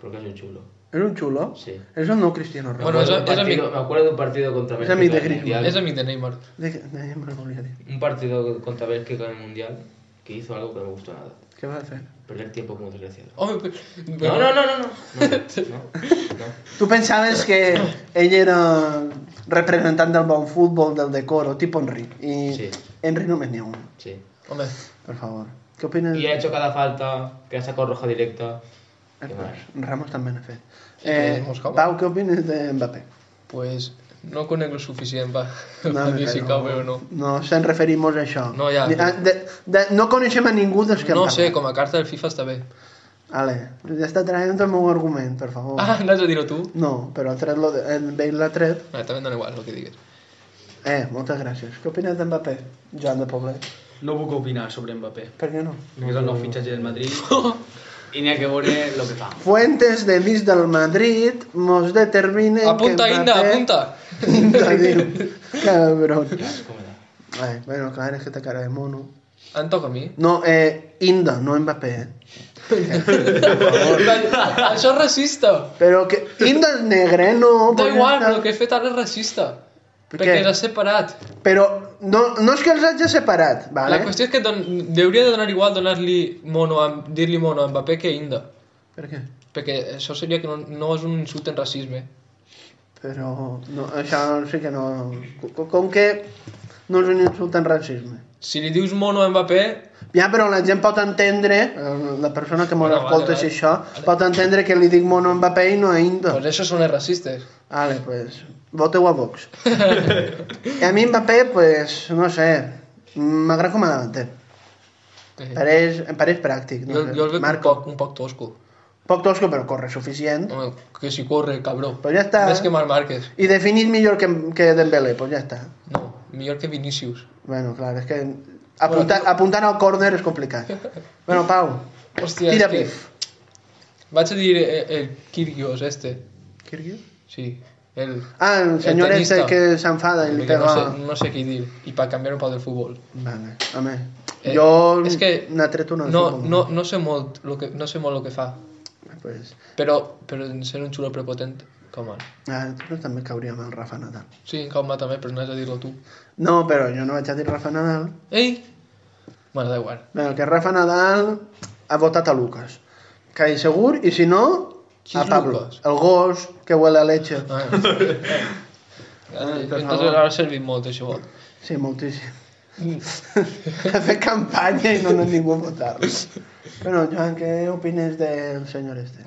[SPEAKER 4] porque es un chulo.
[SPEAKER 1] És un xulo?
[SPEAKER 4] Sí.
[SPEAKER 1] És el nou Cristiano
[SPEAKER 4] Me
[SPEAKER 1] Ronaldo.
[SPEAKER 2] Bueno,
[SPEAKER 4] acuerdo
[SPEAKER 2] esa- esa es
[SPEAKER 4] de un
[SPEAKER 2] mi-
[SPEAKER 4] partido- Me acuerdo de un partido contra
[SPEAKER 1] Esa
[SPEAKER 4] Bélgica
[SPEAKER 1] es mi
[SPEAKER 4] en el
[SPEAKER 1] de
[SPEAKER 4] Mundial.
[SPEAKER 2] És amic de Neymar.
[SPEAKER 1] De, de, me lo volia dir.
[SPEAKER 4] Un partido contra Bélgica en el Mundial que hizo algo que no me gustó nada.
[SPEAKER 1] Què va fer?
[SPEAKER 4] Perder tiempo como desgraciado.
[SPEAKER 2] Home, però...
[SPEAKER 4] No, no, no, no,
[SPEAKER 2] [LAUGHS]
[SPEAKER 4] no. No, no, no.
[SPEAKER 1] Tu pensaves que ell era representant del bon futbol, del decoro, tipus Henry. I
[SPEAKER 4] Sí.
[SPEAKER 1] Henry només n'hi ha un,
[SPEAKER 4] Sí.
[SPEAKER 2] Home,
[SPEAKER 1] per favor. Què opines?
[SPEAKER 4] Y ha hecho cada falta, que ha sacado roja directa. Qué mal.
[SPEAKER 1] Ramos també n'ha fet.
[SPEAKER 2] I
[SPEAKER 1] Eh,
[SPEAKER 2] que Moscou.
[SPEAKER 1] Pau, què opines de Mbappé?
[SPEAKER 2] pues no conec el suficient, va. No,
[SPEAKER 1] me
[SPEAKER 2] dir si
[SPEAKER 1] pego.
[SPEAKER 2] cau bé o no.
[SPEAKER 1] No, se'n referimos a això.
[SPEAKER 2] No, ja.
[SPEAKER 1] Ni- a- De, de, no coneixem a ningú dels que
[SPEAKER 2] No
[SPEAKER 1] hem
[SPEAKER 2] sé,
[SPEAKER 1] parlat.
[SPEAKER 2] com a carta del FIFA està bé.
[SPEAKER 1] Ale, ja està traient el meu argument, per favor.
[SPEAKER 2] Ah, anàs a dir-ho tu?
[SPEAKER 1] No, però ha tret lo de, el Bale l'ha tret.
[SPEAKER 2] Ah, també em dona igual el que digues.
[SPEAKER 1] Eh, moltes gràcies. Què opines d'en Mbappé, Joan de Poblet?
[SPEAKER 3] No puc opinar sobre Mbappé.
[SPEAKER 1] Per què no?
[SPEAKER 3] És el nou fitxatge del Madrid [LAUGHS] i n'hi ha que veure el que fa.
[SPEAKER 1] Fuentes de dins del Madrid mos determinen
[SPEAKER 2] Apunta,
[SPEAKER 1] que
[SPEAKER 2] Inda, apunta!
[SPEAKER 1] [LAUGHS] Inda, diu. Cabrón.
[SPEAKER 4] Asco me da.
[SPEAKER 1] Ai, bueno, clar, és que té cara de mono.
[SPEAKER 2] Em toca a mi?
[SPEAKER 1] No, eh, Inda, no Mbappé, eh?
[SPEAKER 2] Això és racista!
[SPEAKER 1] Però que... Inda és negre, eh? no.
[SPEAKER 2] Da
[SPEAKER 1] pues
[SPEAKER 2] igual,
[SPEAKER 1] ja està.
[SPEAKER 2] però el que he fet ara és racista.
[SPEAKER 1] Per
[SPEAKER 2] perquè
[SPEAKER 1] què?
[SPEAKER 2] l'ha separat.
[SPEAKER 1] Però no, no és que els hagi separat, vale?
[SPEAKER 2] La qüestió és que don... hauria de donar igual donar-li mono, a... dir-li mono a Mbappé que Inda.
[SPEAKER 1] Per què?
[SPEAKER 2] Perquè això seria que no, no és un insult en racisme.
[SPEAKER 1] Però no, això sí que no... Com, com que no és un insult en racisme.
[SPEAKER 2] Si li dius mono a Mbappé,
[SPEAKER 1] Ja, però la gent pot entendre, eh, la persona que m'ho
[SPEAKER 2] Bueno,
[SPEAKER 1] escolta
[SPEAKER 2] vale,
[SPEAKER 1] si
[SPEAKER 2] vale.
[SPEAKER 1] això, pot entendre que li dic mono en paper i no a Indo.
[SPEAKER 2] doncs això són els racistes.
[SPEAKER 1] Vale, pues, voteu a
[SPEAKER 2] [LAUGHS]
[SPEAKER 1] Vox. I a mi Mbappé, pues, no sé, m'agrada com a davanter.
[SPEAKER 2] Eh,
[SPEAKER 1] Pareix, em pareix pràctic. No
[SPEAKER 2] Jo,
[SPEAKER 1] sé.
[SPEAKER 2] jo el veig un
[SPEAKER 1] Marco.
[SPEAKER 2] poc, un poc tosco.
[SPEAKER 1] Poc tosco, però corre suficient.
[SPEAKER 2] Home, que si corre, cabró.
[SPEAKER 1] Pues ja està.
[SPEAKER 2] Més que Marc Márquez.
[SPEAKER 1] I definit millor que, que Dembélé, pues ja està.
[SPEAKER 2] No, millor que Vinícius.
[SPEAKER 1] Bueno, clar, és que apunta, apuntant al córner és
[SPEAKER 2] [LAUGHS]
[SPEAKER 1] complicat. Bueno, Pau,
[SPEAKER 2] Hòstia,
[SPEAKER 1] tira
[SPEAKER 2] és
[SPEAKER 1] pif.
[SPEAKER 2] que vaig a dir el, el Kyrgios este.
[SPEAKER 1] Kyrgios?
[SPEAKER 2] Sí, el...
[SPEAKER 1] Ah, el
[SPEAKER 2] El
[SPEAKER 1] senyor este
[SPEAKER 2] tenista.
[SPEAKER 1] que s'enfada i li
[SPEAKER 2] Perquè
[SPEAKER 1] pega...
[SPEAKER 2] no sé, no sé què dir. I per canviar un poc del futbol.
[SPEAKER 1] Vale, home.
[SPEAKER 2] Eh,
[SPEAKER 1] jo
[SPEAKER 2] és que
[SPEAKER 1] n'he tret una. de
[SPEAKER 2] No,
[SPEAKER 1] futbol.
[SPEAKER 2] no, no sé molt lo que, no sé molt el que fa.
[SPEAKER 1] Pues,
[SPEAKER 2] Però, però en ser un xulo prepotent, com ara.
[SPEAKER 1] ah, però també cauria amb el Rafa Nadal.
[SPEAKER 2] Sí, en Calma també, però no has de dir-lo tu.
[SPEAKER 1] No, però jo no vaig a dir Rafa Nadal.
[SPEAKER 2] Ei! Bueno, da igual.
[SPEAKER 1] Bé, que Rafa Nadal ha votat a Lucas. Que hi segur, i si no,
[SPEAKER 2] Qui
[SPEAKER 1] a
[SPEAKER 2] és
[SPEAKER 1] Pablo.
[SPEAKER 2] Lucas?
[SPEAKER 1] El gos que huele a leche.
[SPEAKER 2] Ah,
[SPEAKER 1] Ah, per
[SPEAKER 2] Entonces
[SPEAKER 1] favor.
[SPEAKER 2] ha servit molt això.
[SPEAKER 1] Sí, moltíssim. [LAUGHS] ha fet campanya i no n'ha ningú a votar-lo. Bueno, Joan, què opines del senyor este?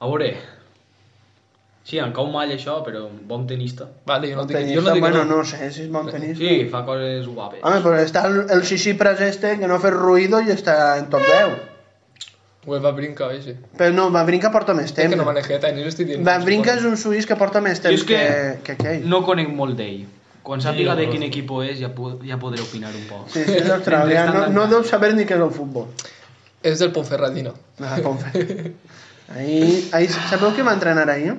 [SPEAKER 3] A veure, sí, em cau mal això, però bon tenista.
[SPEAKER 2] Vale, jo no dic, jo
[SPEAKER 1] Montenista,
[SPEAKER 2] no dic
[SPEAKER 1] bueno,
[SPEAKER 2] que no.
[SPEAKER 1] no sé si és montenista.
[SPEAKER 3] Sí, fa coses guapes.
[SPEAKER 1] Home, però està el, el Sisipras este que no ha fet ruïdo i està en top 10.
[SPEAKER 2] Ué, va brincar, ese.
[SPEAKER 1] Però no, Van Brinca porta més
[SPEAKER 2] És
[SPEAKER 1] temps.
[SPEAKER 2] que no manejeta, ni jo estic dient.
[SPEAKER 1] Van Brinca és un suís que porta més
[SPEAKER 3] Jo
[SPEAKER 1] temps
[SPEAKER 3] és que-
[SPEAKER 1] que, que aquell.
[SPEAKER 3] No conec molt d'ell. Quan sàpiga
[SPEAKER 4] Sí,
[SPEAKER 3] de
[SPEAKER 4] no.
[SPEAKER 3] quin equip és ja, pu- ja podré opinar un poc.
[SPEAKER 1] Sí, sí, és
[SPEAKER 2] [LAUGHS]
[SPEAKER 1] australià. No, no deu saber ni què és el futbol.
[SPEAKER 2] És del Ponferradina.
[SPEAKER 1] Ah, com fer.
[SPEAKER 2] [LAUGHS]
[SPEAKER 1] Ahir, ahir, sabeu qui va entrenar ahir?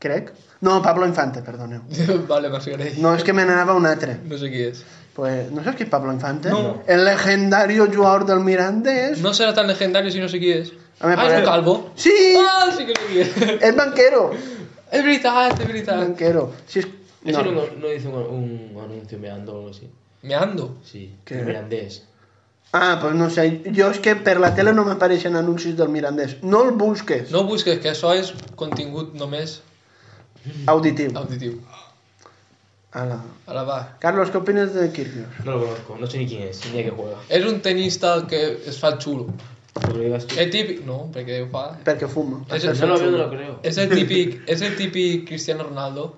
[SPEAKER 1] Crec. No, Pablo Infante, perdoneu.
[SPEAKER 2] vale, m'agradaria.
[SPEAKER 1] No,
[SPEAKER 2] No.
[SPEAKER 1] és que me n'anava un altre.
[SPEAKER 2] no sé qui és.
[SPEAKER 1] Pues, no saps qui és Pablo Infante?
[SPEAKER 2] No.
[SPEAKER 1] El legendari jugador del Mirandés.
[SPEAKER 2] No serà tan legendari si no sé qui és.
[SPEAKER 1] A mi
[SPEAKER 2] ah, és
[SPEAKER 1] pareix-
[SPEAKER 2] un calvo.
[SPEAKER 1] Sí,
[SPEAKER 2] Ah, sí que sé qui és.
[SPEAKER 1] és banquero.
[SPEAKER 2] és veritat, Ah. és veritat.
[SPEAKER 1] Banquero. Sí, és...
[SPEAKER 4] Eso no, no hizo un, un anuncio meando o algo así.
[SPEAKER 2] Meando.
[SPEAKER 4] Sí,
[SPEAKER 1] Què?
[SPEAKER 4] el mirandès.
[SPEAKER 1] Ah, pues no sé, jo és que per la tele no m'apareixen anuncis del Mirandès. No el busques,
[SPEAKER 2] No busques, que això és contingut només
[SPEAKER 1] auditiu.
[SPEAKER 2] auditiu.
[SPEAKER 1] Ala.
[SPEAKER 2] Ara va.
[SPEAKER 1] Carlos, què opines de Kirgios?
[SPEAKER 4] No lo conozco, no sé ni quién es, ni a qué juega.
[SPEAKER 2] És un tenista que es fa el xulo.
[SPEAKER 4] Lo que digas tú.
[SPEAKER 2] El típic... No, perquè ho fa...
[SPEAKER 1] Perquè fuma.
[SPEAKER 2] És
[SPEAKER 4] No lo
[SPEAKER 2] el,
[SPEAKER 4] veo, no lo creo.
[SPEAKER 2] és el típic, és el típic Cristiano Ronaldo,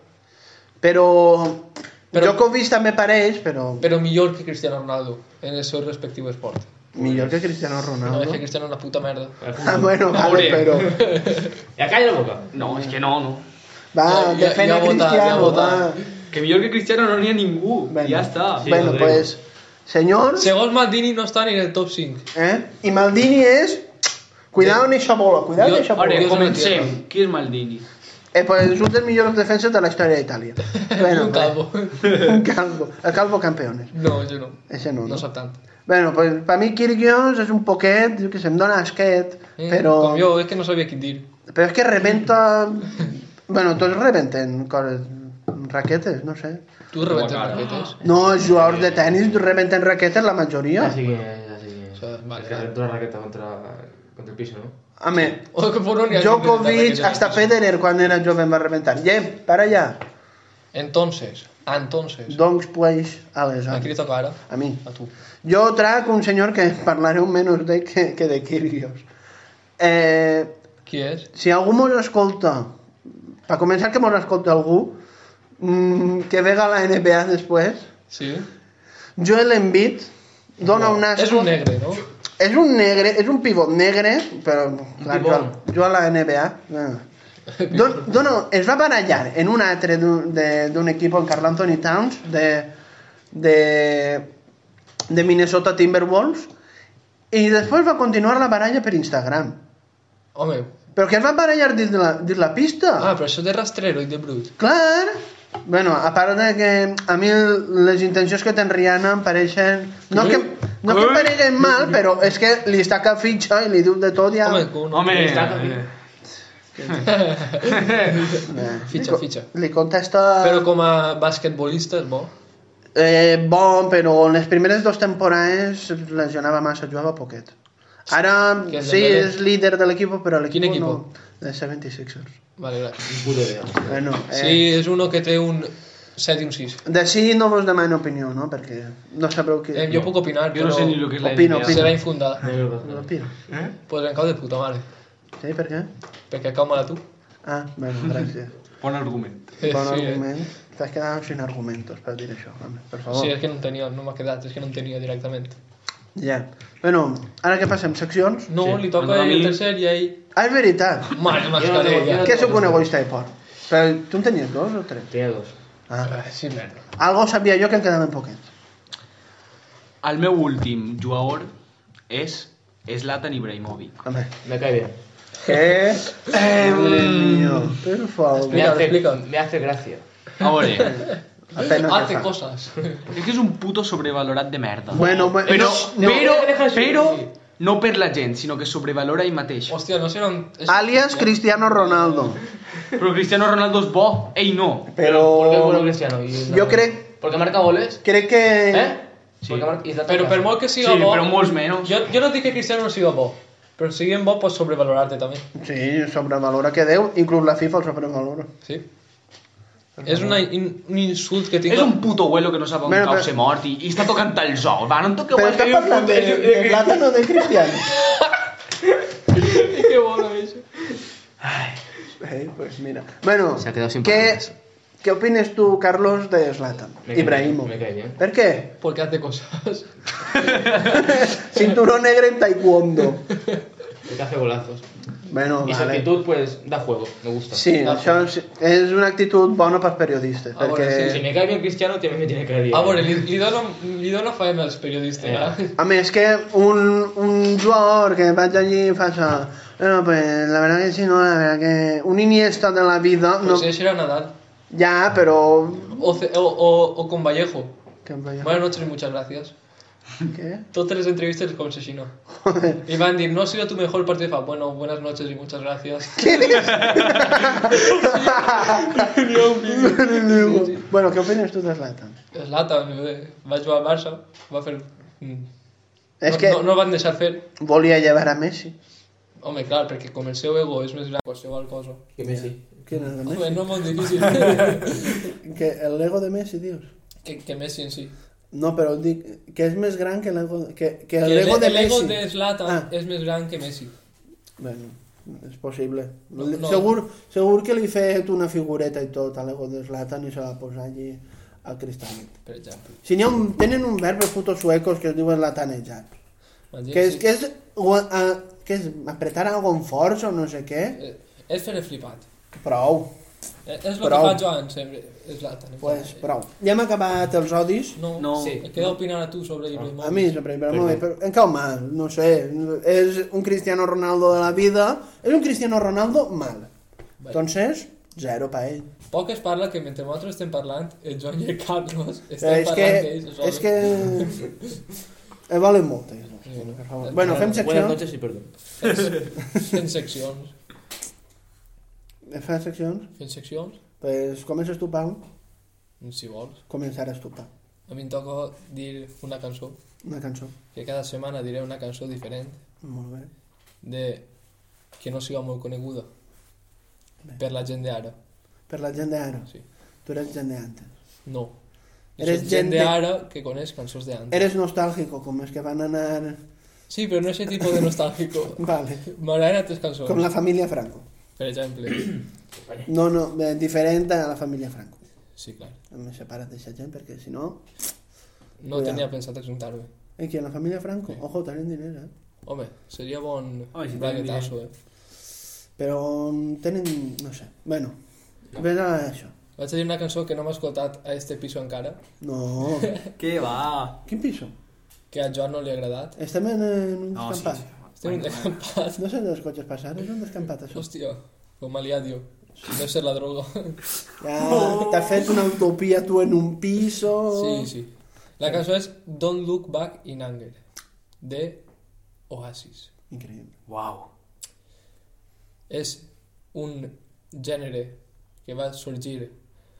[SPEAKER 1] Però...
[SPEAKER 2] Però-
[SPEAKER 1] però... Djokovic també pareix, però,
[SPEAKER 2] però millor que Cristiano Ronaldo en el seu respectiu esport.
[SPEAKER 1] millor que Cristiano
[SPEAKER 2] No,
[SPEAKER 1] Ronaldo.
[SPEAKER 2] és que Cristiano és una puta merda.
[SPEAKER 4] Al fútbol.
[SPEAKER 1] [LAUGHS] Ah, bueno, vale,
[SPEAKER 2] Hombre.
[SPEAKER 1] però...
[SPEAKER 4] Ya calla la boca.
[SPEAKER 3] No, és que no, no.
[SPEAKER 1] Va,
[SPEAKER 2] Ja- ja-
[SPEAKER 1] defèn
[SPEAKER 2] ja
[SPEAKER 1] a
[SPEAKER 2] vota, ja
[SPEAKER 1] Cristiano,
[SPEAKER 2] vota.
[SPEAKER 1] va.
[SPEAKER 3] Que millor que Cristiano no n'hi ha ningú.
[SPEAKER 1] Venga.
[SPEAKER 3] Ja està.
[SPEAKER 4] Sí,
[SPEAKER 1] bueno,
[SPEAKER 4] Rodrigo.
[SPEAKER 1] pues, senyor,
[SPEAKER 2] Segons Maldini no està ni en el top 5.
[SPEAKER 1] eh? I Maldini és... Cuidado en eixa bola, cuidado en
[SPEAKER 2] Jo-
[SPEAKER 1] eixa
[SPEAKER 2] Ara,
[SPEAKER 1] bola.
[SPEAKER 3] Vale,
[SPEAKER 2] Dios no
[SPEAKER 3] comencem. Qui és Maldini?
[SPEAKER 1] Eh, pues és un dels millors defenses de la història d'Itàlia. Bueno,
[SPEAKER 2] [LAUGHS] un calvo. [LAUGHS]
[SPEAKER 1] Un calvo. El calvo campeones.
[SPEAKER 2] No, jo no.
[SPEAKER 1] Ese no,
[SPEAKER 2] No
[SPEAKER 1] no?
[SPEAKER 2] sap tant.
[SPEAKER 1] Bueno, pues per mi Kirgios és un poquet, jo que sé, em dona asquet,
[SPEAKER 2] Eh,
[SPEAKER 1] però...
[SPEAKER 2] Com jo, és que no sabia què dir.
[SPEAKER 1] Però és que rebenta... bueno, tots rebenten coses... Raquetes, no sé.
[SPEAKER 2] Tu rebentes
[SPEAKER 3] Guacara.
[SPEAKER 2] raquetes.
[SPEAKER 1] No, els jugadors de tennis rebenten raquetes, la
[SPEAKER 2] Ah,
[SPEAKER 1] majoria.
[SPEAKER 4] Así que así que.
[SPEAKER 2] O sea, vale,
[SPEAKER 4] es que
[SPEAKER 2] vale.
[SPEAKER 4] toda la raqueta contra, contra el piso, ¿no?
[SPEAKER 1] Home,
[SPEAKER 2] O que por un
[SPEAKER 1] Djokovic, hasta Federer, quan era jove, em va rebentar. Jem, para allà.
[SPEAKER 2] Entonces, entonces,
[SPEAKER 1] Doncs, pues,
[SPEAKER 2] a qui li
[SPEAKER 1] aleshores.
[SPEAKER 2] toca ara?
[SPEAKER 1] A mi.
[SPEAKER 2] A tu.
[SPEAKER 1] Yo trago un señor que hablaré un menos de que, que de Kirgios. Eh,
[SPEAKER 2] Qui és?
[SPEAKER 1] si algú mos escolta, para començar que mos escolta algú, mm, que vega la NBA després,
[SPEAKER 2] Sí?
[SPEAKER 1] Joel Embiid dona un asco...
[SPEAKER 2] És un negre, no?
[SPEAKER 1] És un negre, és un pivot negre, però clar, jo,
[SPEAKER 4] pivot.
[SPEAKER 1] jo a la NBA... Eh. Don, dono, es va barallar en un altre d'un de- d'un equip, el Carl Anthony Towns, de, de, de Minnesota Timberwolves, i després va continuar la baralla per Instagram.
[SPEAKER 2] Home,
[SPEAKER 1] Però que es van barallar dins de la, dins la pista.
[SPEAKER 2] ah, però això de rastrero i de brut.
[SPEAKER 1] Clar! Bueno, a part de que a mi les intencions que ten Rihanna em pareixen... No que, no que em pareguen mal, però és que li està cap fitxa i li diu de tot ja...
[SPEAKER 2] Home, que un
[SPEAKER 3] Home,
[SPEAKER 4] Cristiano.
[SPEAKER 3] eh,
[SPEAKER 1] Eh,
[SPEAKER 2] fitxa,
[SPEAKER 1] li co-
[SPEAKER 2] fitxa.
[SPEAKER 1] Li contesta...
[SPEAKER 2] Però com a basquetbolista és bo.
[SPEAKER 1] Eh, bon, però en les primeres dues temporades es lesionava massa, jugava poquet. Ara
[SPEAKER 2] Que és
[SPEAKER 1] sí,
[SPEAKER 2] Dembélé.
[SPEAKER 1] és líder de l'equip, però l'equip
[SPEAKER 2] Quin equip?
[SPEAKER 1] no... De 76ers.
[SPEAKER 2] Vale, gràcies.
[SPEAKER 4] Un puto idea.
[SPEAKER 1] Bueno, eh,
[SPEAKER 2] Sí, és uno que té un 7 i un 6.
[SPEAKER 1] De sí no vos demano opinió, no? Perquè no sabreu qui...
[SPEAKER 2] Eh, jo puc opinar,
[SPEAKER 3] Jo
[SPEAKER 2] però
[SPEAKER 3] no sé ni lo que és la
[SPEAKER 1] Opino,
[SPEAKER 3] NBA.
[SPEAKER 1] opino.
[SPEAKER 2] serà infundada.
[SPEAKER 4] No lo conozco.
[SPEAKER 1] L'opino.
[SPEAKER 2] Pues em cau de puta mare,
[SPEAKER 1] Sí, per què?
[SPEAKER 2] perquè cau mal a tu.
[SPEAKER 1] Ah, bueno, gràcies.
[SPEAKER 3] Bon argument.
[SPEAKER 2] Eh,
[SPEAKER 1] Bon
[SPEAKER 2] sí, eh.
[SPEAKER 1] argument. T'has quedat sin argumentos per dir això, home, per favor.
[SPEAKER 2] Sí, és que no en tenia, no m'ha quedat, és que no en tenia directament.
[SPEAKER 1] Ja. Bueno, ara què passem? Seccions?
[SPEAKER 2] No,
[SPEAKER 4] Sí.
[SPEAKER 2] li toca
[SPEAKER 3] Bueno, a
[SPEAKER 2] ell el
[SPEAKER 3] mi-
[SPEAKER 2] tercer i ell...
[SPEAKER 1] Ah, és veritat.
[SPEAKER 2] Mare
[SPEAKER 4] Jo
[SPEAKER 2] mascarella.
[SPEAKER 4] no-
[SPEAKER 1] Que sóc un egoista de por. Però tu en tenies dos o tres?
[SPEAKER 4] Tenía dos.
[SPEAKER 1] Ah.
[SPEAKER 2] Ah, Sí, merda.
[SPEAKER 1] Algo sabia jo que en quedaven poquets.
[SPEAKER 3] El meu últim jugador és Zlatan Ibrahimovic.
[SPEAKER 1] Home.
[SPEAKER 4] Me cae bien.
[SPEAKER 1] Què? Eh, mío. Per
[SPEAKER 4] Me
[SPEAKER 1] favor.
[SPEAKER 2] Mira,
[SPEAKER 4] hace,
[SPEAKER 2] explica.
[SPEAKER 4] me hace gracia.
[SPEAKER 3] A
[SPEAKER 1] [LAUGHS]
[SPEAKER 3] veure,
[SPEAKER 1] Apenas
[SPEAKER 2] Hace
[SPEAKER 1] que fa.
[SPEAKER 2] [LAUGHS] coses.
[SPEAKER 3] és que és un puto sobrevalorat de merda.
[SPEAKER 1] Bueno, bueno.
[SPEAKER 3] però,
[SPEAKER 1] no.
[SPEAKER 3] però,
[SPEAKER 4] deja de
[SPEAKER 3] però,
[SPEAKER 4] ser.
[SPEAKER 3] no per la gent, sinó que sobrevalora ell mateix.
[SPEAKER 2] Hòstia, no serà un... és-
[SPEAKER 1] Alias Cristiano Ronaldo.
[SPEAKER 3] Però Cristiano Ronaldo és bo, ell no.
[SPEAKER 4] ¿Por qué es bueno
[SPEAKER 1] Però...
[SPEAKER 4] Cristiano? Y no-
[SPEAKER 1] Jo crec...
[SPEAKER 4] ¿Porque marca goles?
[SPEAKER 1] Crec que...
[SPEAKER 4] ¿Eh?
[SPEAKER 3] Sí.
[SPEAKER 4] Porque marca- y Zlatan
[SPEAKER 2] Però per
[SPEAKER 4] marca.
[SPEAKER 2] molt que
[SPEAKER 3] Sí,
[SPEAKER 2] siga bo...
[SPEAKER 3] però molts menys.
[SPEAKER 2] Jo, jo no dic que Cristiano no siga bo, però si siguin bo pots sobrevalorar-te també,
[SPEAKER 1] Sí, sobrevalora que Déu. Inclús la FIFA el sobrevalora.
[SPEAKER 2] sí? És una, in, un insult que tinc...
[SPEAKER 3] És un puto güelo que no sap on
[SPEAKER 1] Bueno,
[SPEAKER 3] cau
[SPEAKER 1] però-
[SPEAKER 3] ser mort i, i està tocant el zoo. Va, no em toqueu
[SPEAKER 1] Però
[SPEAKER 3] el
[SPEAKER 1] està parlant de, de, de plàtano de
[SPEAKER 4] [LAUGHS]
[SPEAKER 1] Cristiano.
[SPEAKER 2] Que bona, això.
[SPEAKER 1] Eh, pues mira. Bueno,
[SPEAKER 4] Se ha quedado sin
[SPEAKER 1] ¿qué,
[SPEAKER 4] palabras.
[SPEAKER 1] ¿qué opinas tú, Carlos, de Zlatan?
[SPEAKER 4] Me cae
[SPEAKER 1] Ibrahimo.
[SPEAKER 4] bien, Me cae bien.
[SPEAKER 1] ¿Por qué?
[SPEAKER 2] [LAUGHS] Porque hace coses.
[SPEAKER 1] Cinturón negro en taekwondo.
[SPEAKER 4] Porque hace golazos.
[SPEAKER 1] Bueno,
[SPEAKER 4] Y su
[SPEAKER 1] vale.
[SPEAKER 4] actitud, pues, da juego. Me gusta.
[SPEAKER 1] Sí, això és, és una actitud bona pels periodistes,
[SPEAKER 2] Ah,
[SPEAKER 1] perquè...
[SPEAKER 2] bueno,
[SPEAKER 4] Si me cae bien Cristiano, también me tiene que caer bien.
[SPEAKER 2] A veure, li, li, dono, li dono faena als periodistes, eh?
[SPEAKER 1] A més, que un, un jugador que vaig allí i faig... Bueno, pues, la verdad que sí, no, la verdad que... Un iniesta de la vida... [LAUGHS]
[SPEAKER 2] No.
[SPEAKER 1] No,
[SPEAKER 2] Pues era Nadal.
[SPEAKER 1] Ja, però...
[SPEAKER 2] O, ce- o, o, o con Vallejo.
[SPEAKER 1] Que em veia-
[SPEAKER 2] Buenas noches y muchas gracias.
[SPEAKER 1] Què?
[SPEAKER 2] Totes les entrevistes com si així no.
[SPEAKER 1] Joder.
[SPEAKER 2] I van dir, no ha sido tu mejor partido. Fa, bueno, buenas noches y muchas gracias. [LAUGHS] Ni un vídeo.
[SPEAKER 1] bueno, què opines tu de Zlatan?
[SPEAKER 2] Zlatan, eh, va jugar al Barça, va fer... Mm.
[SPEAKER 1] És
[SPEAKER 2] no,
[SPEAKER 1] que
[SPEAKER 2] no, no el van deixar fer.
[SPEAKER 1] volia llevar a Messi.
[SPEAKER 2] Home, clar, perquè com el seu ego és més gran que qualsevol cosa.
[SPEAKER 4] Que Messi.
[SPEAKER 1] Què era de
[SPEAKER 2] Home,
[SPEAKER 1] Messi?
[SPEAKER 2] no és molt
[SPEAKER 1] [LAUGHS]
[SPEAKER 2] difícil.
[SPEAKER 1] Que el Lego de Messi, dius?
[SPEAKER 2] que, que Messi en si.
[SPEAKER 1] No, però dic que és més gran que el Lego, que, que el
[SPEAKER 2] Que
[SPEAKER 1] Lego de
[SPEAKER 2] el ego
[SPEAKER 1] Messi.
[SPEAKER 2] de Zlatan
[SPEAKER 1] Ah.
[SPEAKER 2] és més gran que Messi.
[SPEAKER 1] Bueno, és possible.
[SPEAKER 2] No, no.
[SPEAKER 1] Segur, segur que li he fet una figureta i tot a l'ego de Zlatan i se la posa allí al cristallet.
[SPEAKER 2] Per exemple.
[SPEAKER 1] Si n'hi ha un, tenen un verb els putos suecos que es diuen latanejar.
[SPEAKER 2] Van dir,
[SPEAKER 1] Que és,
[SPEAKER 2] sí.
[SPEAKER 1] que és, gua- a, que és apretar algo amb força o no sé què.
[SPEAKER 2] Eh, És fer el flipat.
[SPEAKER 1] Prou,
[SPEAKER 2] Eh, És el que
[SPEAKER 1] Prou.
[SPEAKER 2] fa Joan sempre, Zlatan. eh.
[SPEAKER 1] pues, prou. Ja hem acabat els odis.
[SPEAKER 2] No,
[SPEAKER 3] No.
[SPEAKER 2] sí. He quedat opinant a tu sobre Ibrahimovic.
[SPEAKER 1] A mi sempre, però molt bé, però encara mal, no sé, és un Cristiano Ronaldo de la vida, és un Cristiano Ronaldo mal.
[SPEAKER 2] Vale.
[SPEAKER 1] Entonces, zero pa ell.
[SPEAKER 2] Poc es parla que mentre nosaltres estem parlant, el Joan i el Carlos estem
[SPEAKER 1] Eh, és que...
[SPEAKER 2] parlant d'ells. sols.
[SPEAKER 1] És que... Eh, valen molt, eh, per favor. Bueno, fem
[SPEAKER 4] Buenas
[SPEAKER 1] seccions.
[SPEAKER 4] noches y perdón.
[SPEAKER 2] Fent seccions.
[SPEAKER 1] Fem seccions.
[SPEAKER 2] Fent seccions,
[SPEAKER 1] Pues comences tu, Pau.
[SPEAKER 2] si vols.
[SPEAKER 1] Començaràs tu, Pau.
[SPEAKER 2] A mi em toca dir una cançó,
[SPEAKER 1] Una cançó.
[SPEAKER 2] que cada setmana diré una cançó diferent
[SPEAKER 1] Molt bé.
[SPEAKER 2] de que no siga molt coneguda per la gent d'ara.
[SPEAKER 1] Per la gent d'ara.
[SPEAKER 2] Sí.
[SPEAKER 1] Tu eres gent d'antes.
[SPEAKER 2] No. Jo
[SPEAKER 1] Eres
[SPEAKER 2] soc
[SPEAKER 1] gent
[SPEAKER 2] gent
[SPEAKER 1] de-
[SPEAKER 2] d'ara que coneix cançons d'antes.
[SPEAKER 1] Eres nostàlgico, com els que van anar...
[SPEAKER 2] Sí, però no és tipus de nostàlgico.
[SPEAKER 1] [LAUGHS] Vale.
[SPEAKER 2] M'agraden altres cançons.
[SPEAKER 1] Com la família Franco.
[SPEAKER 2] Per exemple.
[SPEAKER 1] No, no, eh, diferent a la família Franco.
[SPEAKER 2] Sí, clar.
[SPEAKER 1] Em separa't d'aquesta gent perquè si no...
[SPEAKER 2] No
[SPEAKER 1] Cuidado.
[SPEAKER 2] tenia pensat ajuntar-me.
[SPEAKER 1] Eh, que la família Franco, ojo, tenen diners, eh?
[SPEAKER 2] Home, seria bon
[SPEAKER 3] Home, si
[SPEAKER 2] braguetazo, eh?
[SPEAKER 1] Però mm, tenen... no sé. Bueno, vés a això.
[SPEAKER 2] Vaig a dir una cançó que no m'ha escoltat a este piso encara, [LAUGHS]
[SPEAKER 1] No.
[SPEAKER 3] Què va?
[SPEAKER 1] Quin piso?
[SPEAKER 2] que a Joan no li ha agradat. Este
[SPEAKER 1] Estem en, en un
[SPEAKER 3] No, sí,
[SPEAKER 1] descampat.
[SPEAKER 3] sí.
[SPEAKER 2] Estem [LAUGHS] un descampat.
[SPEAKER 1] No sé dels cotxes passant, és un descampat, això.
[SPEAKER 2] Hòstia, com m'ha liat, jo. Deu ser la droga.
[SPEAKER 1] Ja, t'ha fet una utopia tu en un piso...
[SPEAKER 2] Sí, sí. La cançó és Don't Look Back in Anger, de Oasis.
[SPEAKER 1] Increïble.
[SPEAKER 3] Wow.
[SPEAKER 2] És un gènere que va sorgir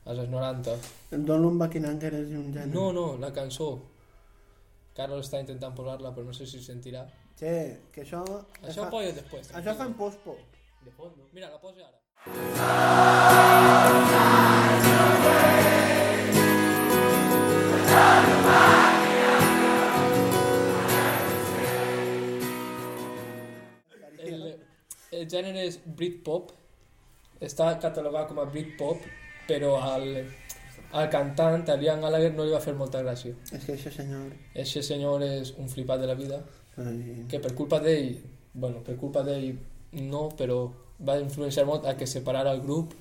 [SPEAKER 2] als anys 90.
[SPEAKER 1] El Don Lumbaquinanger és un gènere.
[SPEAKER 2] No, no, la cançó. Carlos està intentant posar-la, però no sé si sentirà.
[SPEAKER 1] Che, que això...
[SPEAKER 2] Això
[SPEAKER 1] fa,
[SPEAKER 2] posa després.
[SPEAKER 1] això fa en pospo.
[SPEAKER 2] De fondo. Mira, la posa ara. El, el gènere és Britpop. Està catalogat com a Britpop, però al, al cantant, a Liam Gallagher, no li va fer molta gràcia.
[SPEAKER 1] És que això, senyor... eh,
[SPEAKER 2] Eixe senyor és un flipat de la vida,
[SPEAKER 1] Ai,
[SPEAKER 2] que per culpa d'ell, bueno, per culpa d'ell no, però va influenciar molt a que separara el grup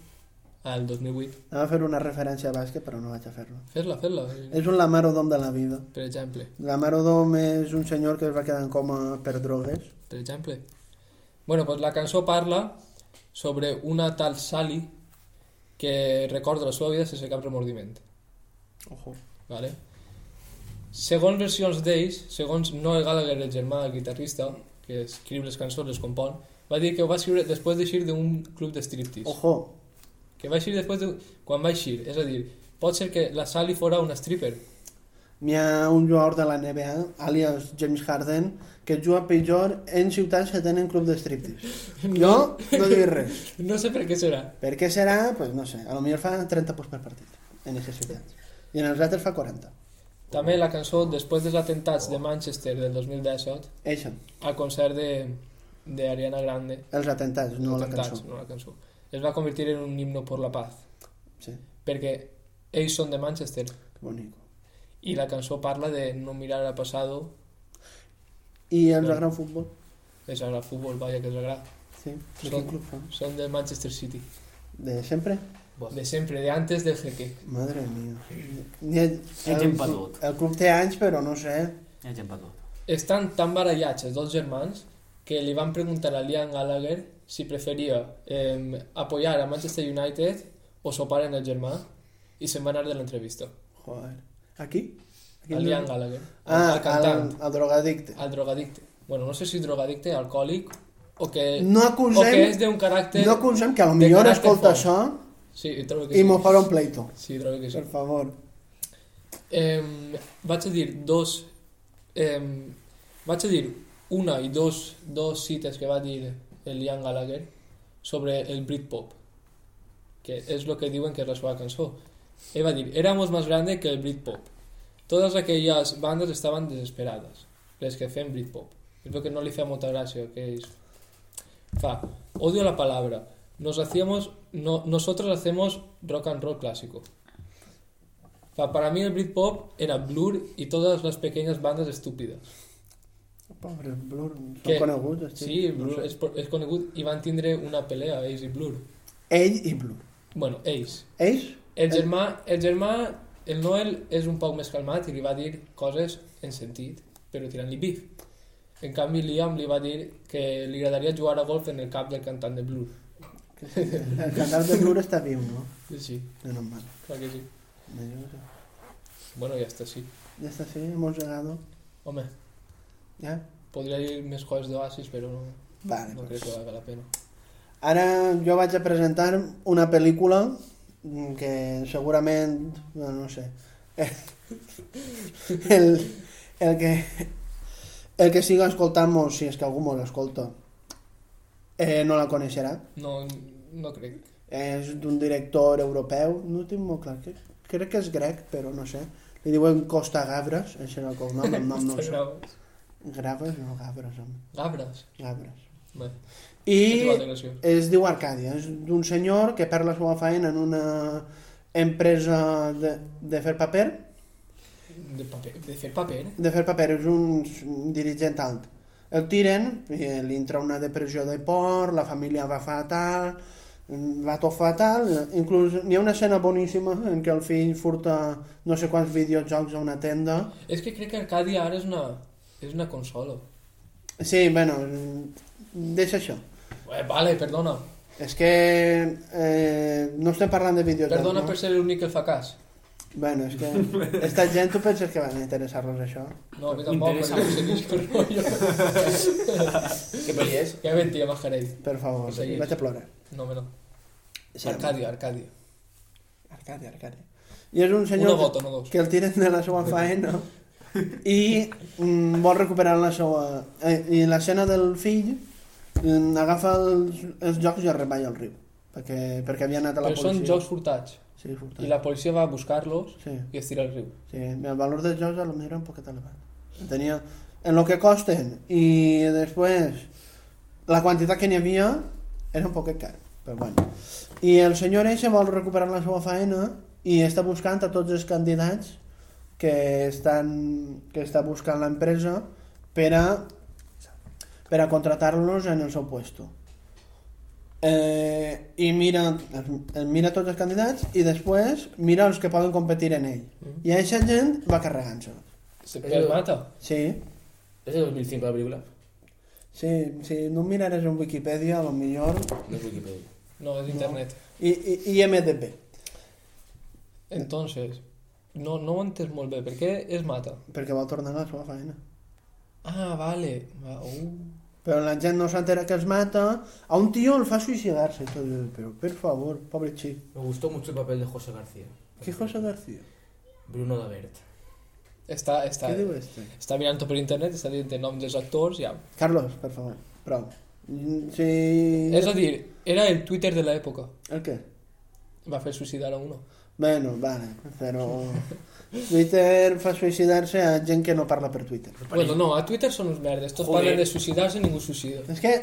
[SPEAKER 2] al 2008.
[SPEAKER 1] Anava a fer una referència a bàsquet, però no vaig a fer-la.
[SPEAKER 2] Fes-la, fes-la,
[SPEAKER 1] És un Lamarodom de la vida.
[SPEAKER 2] per exemple.
[SPEAKER 1] Lamarodom és un senyor que es va quedar en coma per drogues.
[SPEAKER 2] Per exemple. Bueno, pues la cançó parla sobre una tal Sally que recorda la seva vida sense cap remordiment.
[SPEAKER 1] Ojo.
[SPEAKER 2] Vale? Segons versions d'ells, segons Noel Gallagher, el germà del guitarrista, que escriu les cançons, les compon, va dir que ho va escriure després d'eixir d'un club de striptease.
[SPEAKER 1] Ojo.
[SPEAKER 2] Que va eixir després de... quan va eixir, és a dir, pot ser que la Sally fora una stripper.
[SPEAKER 1] Hi ha un jugador de la NBA, alias James Harden, que juga pitjor en ciutats que tenen club de striptease. Jo no diré res.
[SPEAKER 2] No sé per què serà.
[SPEAKER 1] Per què serà? Pues no sé, a lo millor fa 30 punts per partit en aquestes ciutats. I en els altres fa 40.
[SPEAKER 2] També la cançó, després dels atentats de Manchester del 2017,
[SPEAKER 1] Això,
[SPEAKER 2] al concert de, de Ariana Grande,
[SPEAKER 1] els atentats, no la
[SPEAKER 2] atentats,
[SPEAKER 1] cançó.
[SPEAKER 2] no la cançó, es va convertir en un himno por la paz,
[SPEAKER 1] Sí,
[SPEAKER 2] perquè ells són de Manchester
[SPEAKER 1] que bonico.
[SPEAKER 2] i la cançó parla de no mirar al passado,
[SPEAKER 1] I els de gran futbol?
[SPEAKER 2] és ara el futbol, vaja que els agrada.
[SPEAKER 1] Sí, de
[SPEAKER 2] Són-
[SPEAKER 1] quin club fa?
[SPEAKER 2] Són del Manchester City,
[SPEAKER 1] De sempre?
[SPEAKER 2] de sempre, de antes del jeque.
[SPEAKER 1] Madre mia. N'hi ha-
[SPEAKER 3] Ets
[SPEAKER 1] el,
[SPEAKER 3] empadut.
[SPEAKER 1] el club té anys, però no sé.
[SPEAKER 3] Ja ens hem perdut.
[SPEAKER 2] Estan tan barallats els dos germans que li van preguntar a Liam Gallagher si preferia eh, apoyar a Manchester United o sopar en el germà i se'n va anar de l'entrevista.
[SPEAKER 1] Joder. Aquí?
[SPEAKER 2] El Ian Gallagher.
[SPEAKER 1] Ah,
[SPEAKER 2] el
[SPEAKER 1] el,
[SPEAKER 2] cantant.
[SPEAKER 1] el drogadicte.
[SPEAKER 2] El drogadicte. Bueno, no sé si drogadicte, alcohòlic, o que...
[SPEAKER 1] No
[SPEAKER 2] O que és
[SPEAKER 1] acusem,
[SPEAKER 2] d'un caràcter...
[SPEAKER 1] no acusem que a lo
[SPEAKER 2] de
[SPEAKER 1] millor
[SPEAKER 2] caràcter
[SPEAKER 1] escolta
[SPEAKER 2] fort.
[SPEAKER 1] això
[SPEAKER 2] Sí, trobo que
[SPEAKER 1] i
[SPEAKER 2] sí.
[SPEAKER 1] mos farà un pleito.
[SPEAKER 2] Sí, trobo que sí.
[SPEAKER 1] Per favor.
[SPEAKER 2] Eh, vaig a dir dos... Eh, vaig a dir una i dos, dos cites que va dir el Ian Gallagher sobre el Britpop, que és el que diuen que és la seva cançó. Ell va dir, éramos más grande que el Britpop. Totes aquelles bandes estaven desesperades, les que fem Britpop. És el que no li feia molta gràcia, que és... Fa, odio la palabra. Nos hacíamos, no, nosotros hacemos rock and roll clásico. Pa- Para mí el Britpop era Blur y todas las pequeñas bandas estúpidas.
[SPEAKER 1] Pobres Blur, són
[SPEAKER 2] Que-
[SPEAKER 1] coneguts.
[SPEAKER 2] Sí, Blur és, por- és conegut i van tindre una pelea, ells i Blur.
[SPEAKER 1] Ell i Blur.
[SPEAKER 2] Bueno, ells.
[SPEAKER 1] Ells?
[SPEAKER 2] El germà, el germà, el Noel és un poc més calmat i li va dir coses en sentit, però tirant-li bif. En canvi, Liam li va dir que li agradaria jugar a golf en el cap del cantant de Blur.
[SPEAKER 1] El cantant de Blur està viu, no?
[SPEAKER 2] Sí,
[SPEAKER 1] Menos mal.
[SPEAKER 2] clar que sí.
[SPEAKER 1] Me digo que-
[SPEAKER 2] Bueno, ja està, sí.
[SPEAKER 1] Ya está, sí, hemos llegado.
[SPEAKER 2] Home,
[SPEAKER 1] ¿Ya?
[SPEAKER 2] podria dir més coses d'Oasis, però no,
[SPEAKER 1] Vale.
[SPEAKER 2] no
[SPEAKER 1] pues.
[SPEAKER 2] crec que valga la pena.
[SPEAKER 1] Ara jo vaig a presentar una pel·lícula mm, que segurament, no, no sé, [LAUGHS] el, el que el que siga escoltant-nos, si és que algú mos escolta, eh, no la coneixerà.
[SPEAKER 2] No, no crec.
[SPEAKER 1] És d'un director europeu, no ho tinc molt clar, que, crec que és grec, però no sé. Li diuen Costa Gavras, això era el cognom, el
[SPEAKER 2] [LAUGHS]
[SPEAKER 1] nom no ho sé.
[SPEAKER 2] Graves.
[SPEAKER 1] Graves, no, Gavras, home.
[SPEAKER 2] Gabres.
[SPEAKER 1] Gavras.
[SPEAKER 2] Bé, és igual de
[SPEAKER 1] I
[SPEAKER 2] graciós.
[SPEAKER 1] es diu Arcàdia, és d'un senyor que perd la seva feina en una empresa de, de fer paper.
[SPEAKER 2] De, paper, de fer paper. eh?
[SPEAKER 1] De fer paper és un dirigent alt. El tiren, i li entra una depressió de por, la família va fatal, va tot fatal, inclús n'hi ha una escena boníssima en què el fill furta no sé quants videojocs a una tenda.
[SPEAKER 2] És que crec que Arcadia ara és una, és una consola.
[SPEAKER 1] Sí, bueno, deixa això.
[SPEAKER 2] Eh, vale, perdona.
[SPEAKER 1] És que eh, no estem parlant de videojocs,
[SPEAKER 2] Perdona
[SPEAKER 1] no?
[SPEAKER 2] per ser l'únic que el fa cas.
[SPEAKER 1] Bueno, és que esta gent tu penses que van interessar-los això?
[SPEAKER 2] No, a mi tampoc,
[SPEAKER 3] M'interessa.
[SPEAKER 2] perquè no segueix per [LAUGHS] rotllo.
[SPEAKER 1] [LAUGHS]
[SPEAKER 4] ¿Qué peli es?
[SPEAKER 2] Ja mentia, Majarell.
[SPEAKER 1] Per favor,
[SPEAKER 2] Segueix.
[SPEAKER 1] vaig a plorar.
[SPEAKER 2] No, home, no.
[SPEAKER 1] Sí,
[SPEAKER 2] Arcadia, Arcadia.
[SPEAKER 1] Arcadi, Arcadi. I és un
[SPEAKER 2] Una
[SPEAKER 1] senyor
[SPEAKER 2] bota, no dos.
[SPEAKER 1] que el tiren de la seva feina i mm, vol recuperar la seva... Eh, I l'escena del fill mm, agafa els, els jocs i els remalla al riu. Perquè, perquè havia anat a la
[SPEAKER 2] Però són
[SPEAKER 1] policia.
[SPEAKER 2] jocs furtats.
[SPEAKER 1] Sí,
[SPEAKER 2] I
[SPEAKER 1] furtat.
[SPEAKER 2] la policia va a buscar-los
[SPEAKER 1] Sí,
[SPEAKER 2] i es tira al riu.
[SPEAKER 1] sí. El valor dels jocs a lo millor era un poquet elevat. Tenia... En lo que costen i després la quantitat que n'hi havia era un poquet car, però bueno. I el senyor Eixe vol recuperar la seva feina i està buscant a tots els candidats que estan que està buscant l'empresa per a per a contratar-los en el seu puesto. Eh, i mira, eh, mira tots els candidats i després mira els que poden competir en ell. I aquesta gent va carregant-se.
[SPEAKER 2] Se el mata.
[SPEAKER 1] Sí,
[SPEAKER 4] ¿Es de 2005 la película?
[SPEAKER 1] sí, sí, no mirares en Wikipedia, a lo millor,
[SPEAKER 4] No es Wikipedia.
[SPEAKER 2] No, és internet.
[SPEAKER 1] i, i, IMDB.
[SPEAKER 2] Entonces, no, no ho he entès molt bé. Per què es mata?
[SPEAKER 1] perquè va tornar a la seva feina.
[SPEAKER 2] Ah, vale. Va, uh.
[SPEAKER 1] Però la gent no s'entera que es mata, a un tio el fa suïcidar-se, tot i- però per favor, pobre xic.
[SPEAKER 4] Me gustó mucho el papel de José García.
[SPEAKER 1] Què José García?
[SPEAKER 4] Bruno Davert.
[SPEAKER 2] Està, està,
[SPEAKER 1] Què diu este?
[SPEAKER 2] està mirant per internet, està dient el nom dels actors, ja.
[SPEAKER 1] Carlos, per favor, prou. Mm, Sí...
[SPEAKER 2] És a dir, era el Twitter de l'època.
[SPEAKER 1] El què?
[SPEAKER 2] Va fer suïcidar a uno.
[SPEAKER 1] Bueno, vale, però... Twitter fa suïcidar-se a gent que no parla per Twitter.
[SPEAKER 2] Bueno, no, a Twitter són uns merdes. Tots
[SPEAKER 4] Joder.
[SPEAKER 2] parlen de suïcidar-se i ningú es suïcida.
[SPEAKER 1] És que...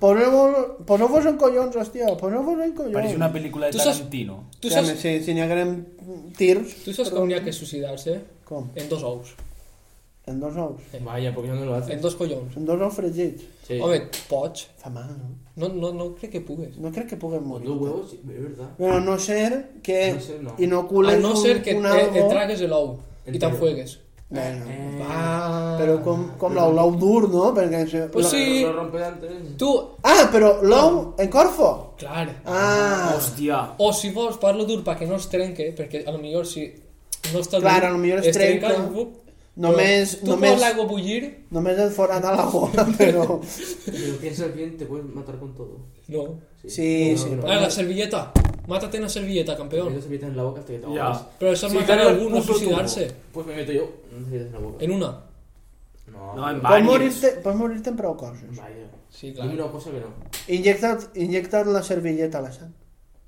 [SPEAKER 1] Poseu-vos poseu en collons, hòstia, poseu-vos en collons.
[SPEAKER 3] Parece una película de
[SPEAKER 2] Tú sos-
[SPEAKER 3] Tarantino.
[SPEAKER 2] Tu
[SPEAKER 1] Ja,
[SPEAKER 2] saps,
[SPEAKER 1] Si, si n'hi haguem tirs...
[SPEAKER 2] tu saps com n'hi ha que suïcidar-se?
[SPEAKER 1] Com?
[SPEAKER 2] En dos ous.
[SPEAKER 1] En dos ous.
[SPEAKER 4] Vaya, porque yo no lo hace.
[SPEAKER 2] En dos collons.
[SPEAKER 1] En dos ous fregits.
[SPEAKER 4] Sí.
[SPEAKER 2] Home, pots.
[SPEAKER 1] Fa mal, no?
[SPEAKER 2] No, no, no crec que pugues.
[SPEAKER 1] No crec que puguem
[SPEAKER 4] Con
[SPEAKER 1] morir.
[SPEAKER 4] dos huevos, sí, es verdad.
[SPEAKER 1] Però a no ser que
[SPEAKER 4] A no ser, no.
[SPEAKER 1] inocules
[SPEAKER 2] a no ser que e-
[SPEAKER 1] un, un
[SPEAKER 2] te, et
[SPEAKER 1] algo...
[SPEAKER 2] tragues l'ou i
[SPEAKER 4] Entero.
[SPEAKER 2] t'enfuegues.
[SPEAKER 1] Bueno,
[SPEAKER 2] Ah.
[SPEAKER 1] però com, com l'ou, l'ou dur, no? Perquè... Se...
[SPEAKER 2] Pues sí.
[SPEAKER 4] Lo rompe antes.
[SPEAKER 2] Tu,
[SPEAKER 1] Ah, però l'ou en corfo!
[SPEAKER 2] clar.
[SPEAKER 1] Ah,
[SPEAKER 3] Hostia.
[SPEAKER 2] O si vols, parlo dur perquè no es trenque, perquè a lo millor si No està
[SPEAKER 1] Clar,
[SPEAKER 2] dur.
[SPEAKER 1] a lo millor és
[SPEAKER 2] trenca
[SPEAKER 1] trenca.
[SPEAKER 2] un buc,
[SPEAKER 1] Només-
[SPEAKER 2] però Tu
[SPEAKER 1] només-
[SPEAKER 2] pots l'aigua bullir?
[SPEAKER 1] Només et forat a la gola, [LAUGHS] però...
[SPEAKER 4] Si lo piensas bien, te puedes matar con todo.
[SPEAKER 2] No.
[SPEAKER 1] Sí,
[SPEAKER 4] No,
[SPEAKER 1] sí.
[SPEAKER 4] no,
[SPEAKER 1] però-
[SPEAKER 2] Ah, la servilleta. Mátate en la servilleta, campeón.
[SPEAKER 4] Metes servilleta en la boca hasta que te
[SPEAKER 5] Ya.
[SPEAKER 4] ahogas.
[SPEAKER 2] Pero eso es
[SPEAKER 5] Sí,
[SPEAKER 2] matar a
[SPEAKER 5] dale al
[SPEAKER 2] alguno,
[SPEAKER 5] puto
[SPEAKER 2] suicidarse.
[SPEAKER 4] Pues me meto yo. No sé en la boca.
[SPEAKER 2] En una.
[SPEAKER 4] No,
[SPEAKER 5] No, en
[SPEAKER 1] Pots
[SPEAKER 5] Banyes.
[SPEAKER 1] morir-te pots morir-te en prou coses.
[SPEAKER 4] Vaya.
[SPEAKER 2] Sí, clar.
[SPEAKER 4] Dime una cosa que no.
[SPEAKER 1] Injecta't, injecta't la servilleta a la sang.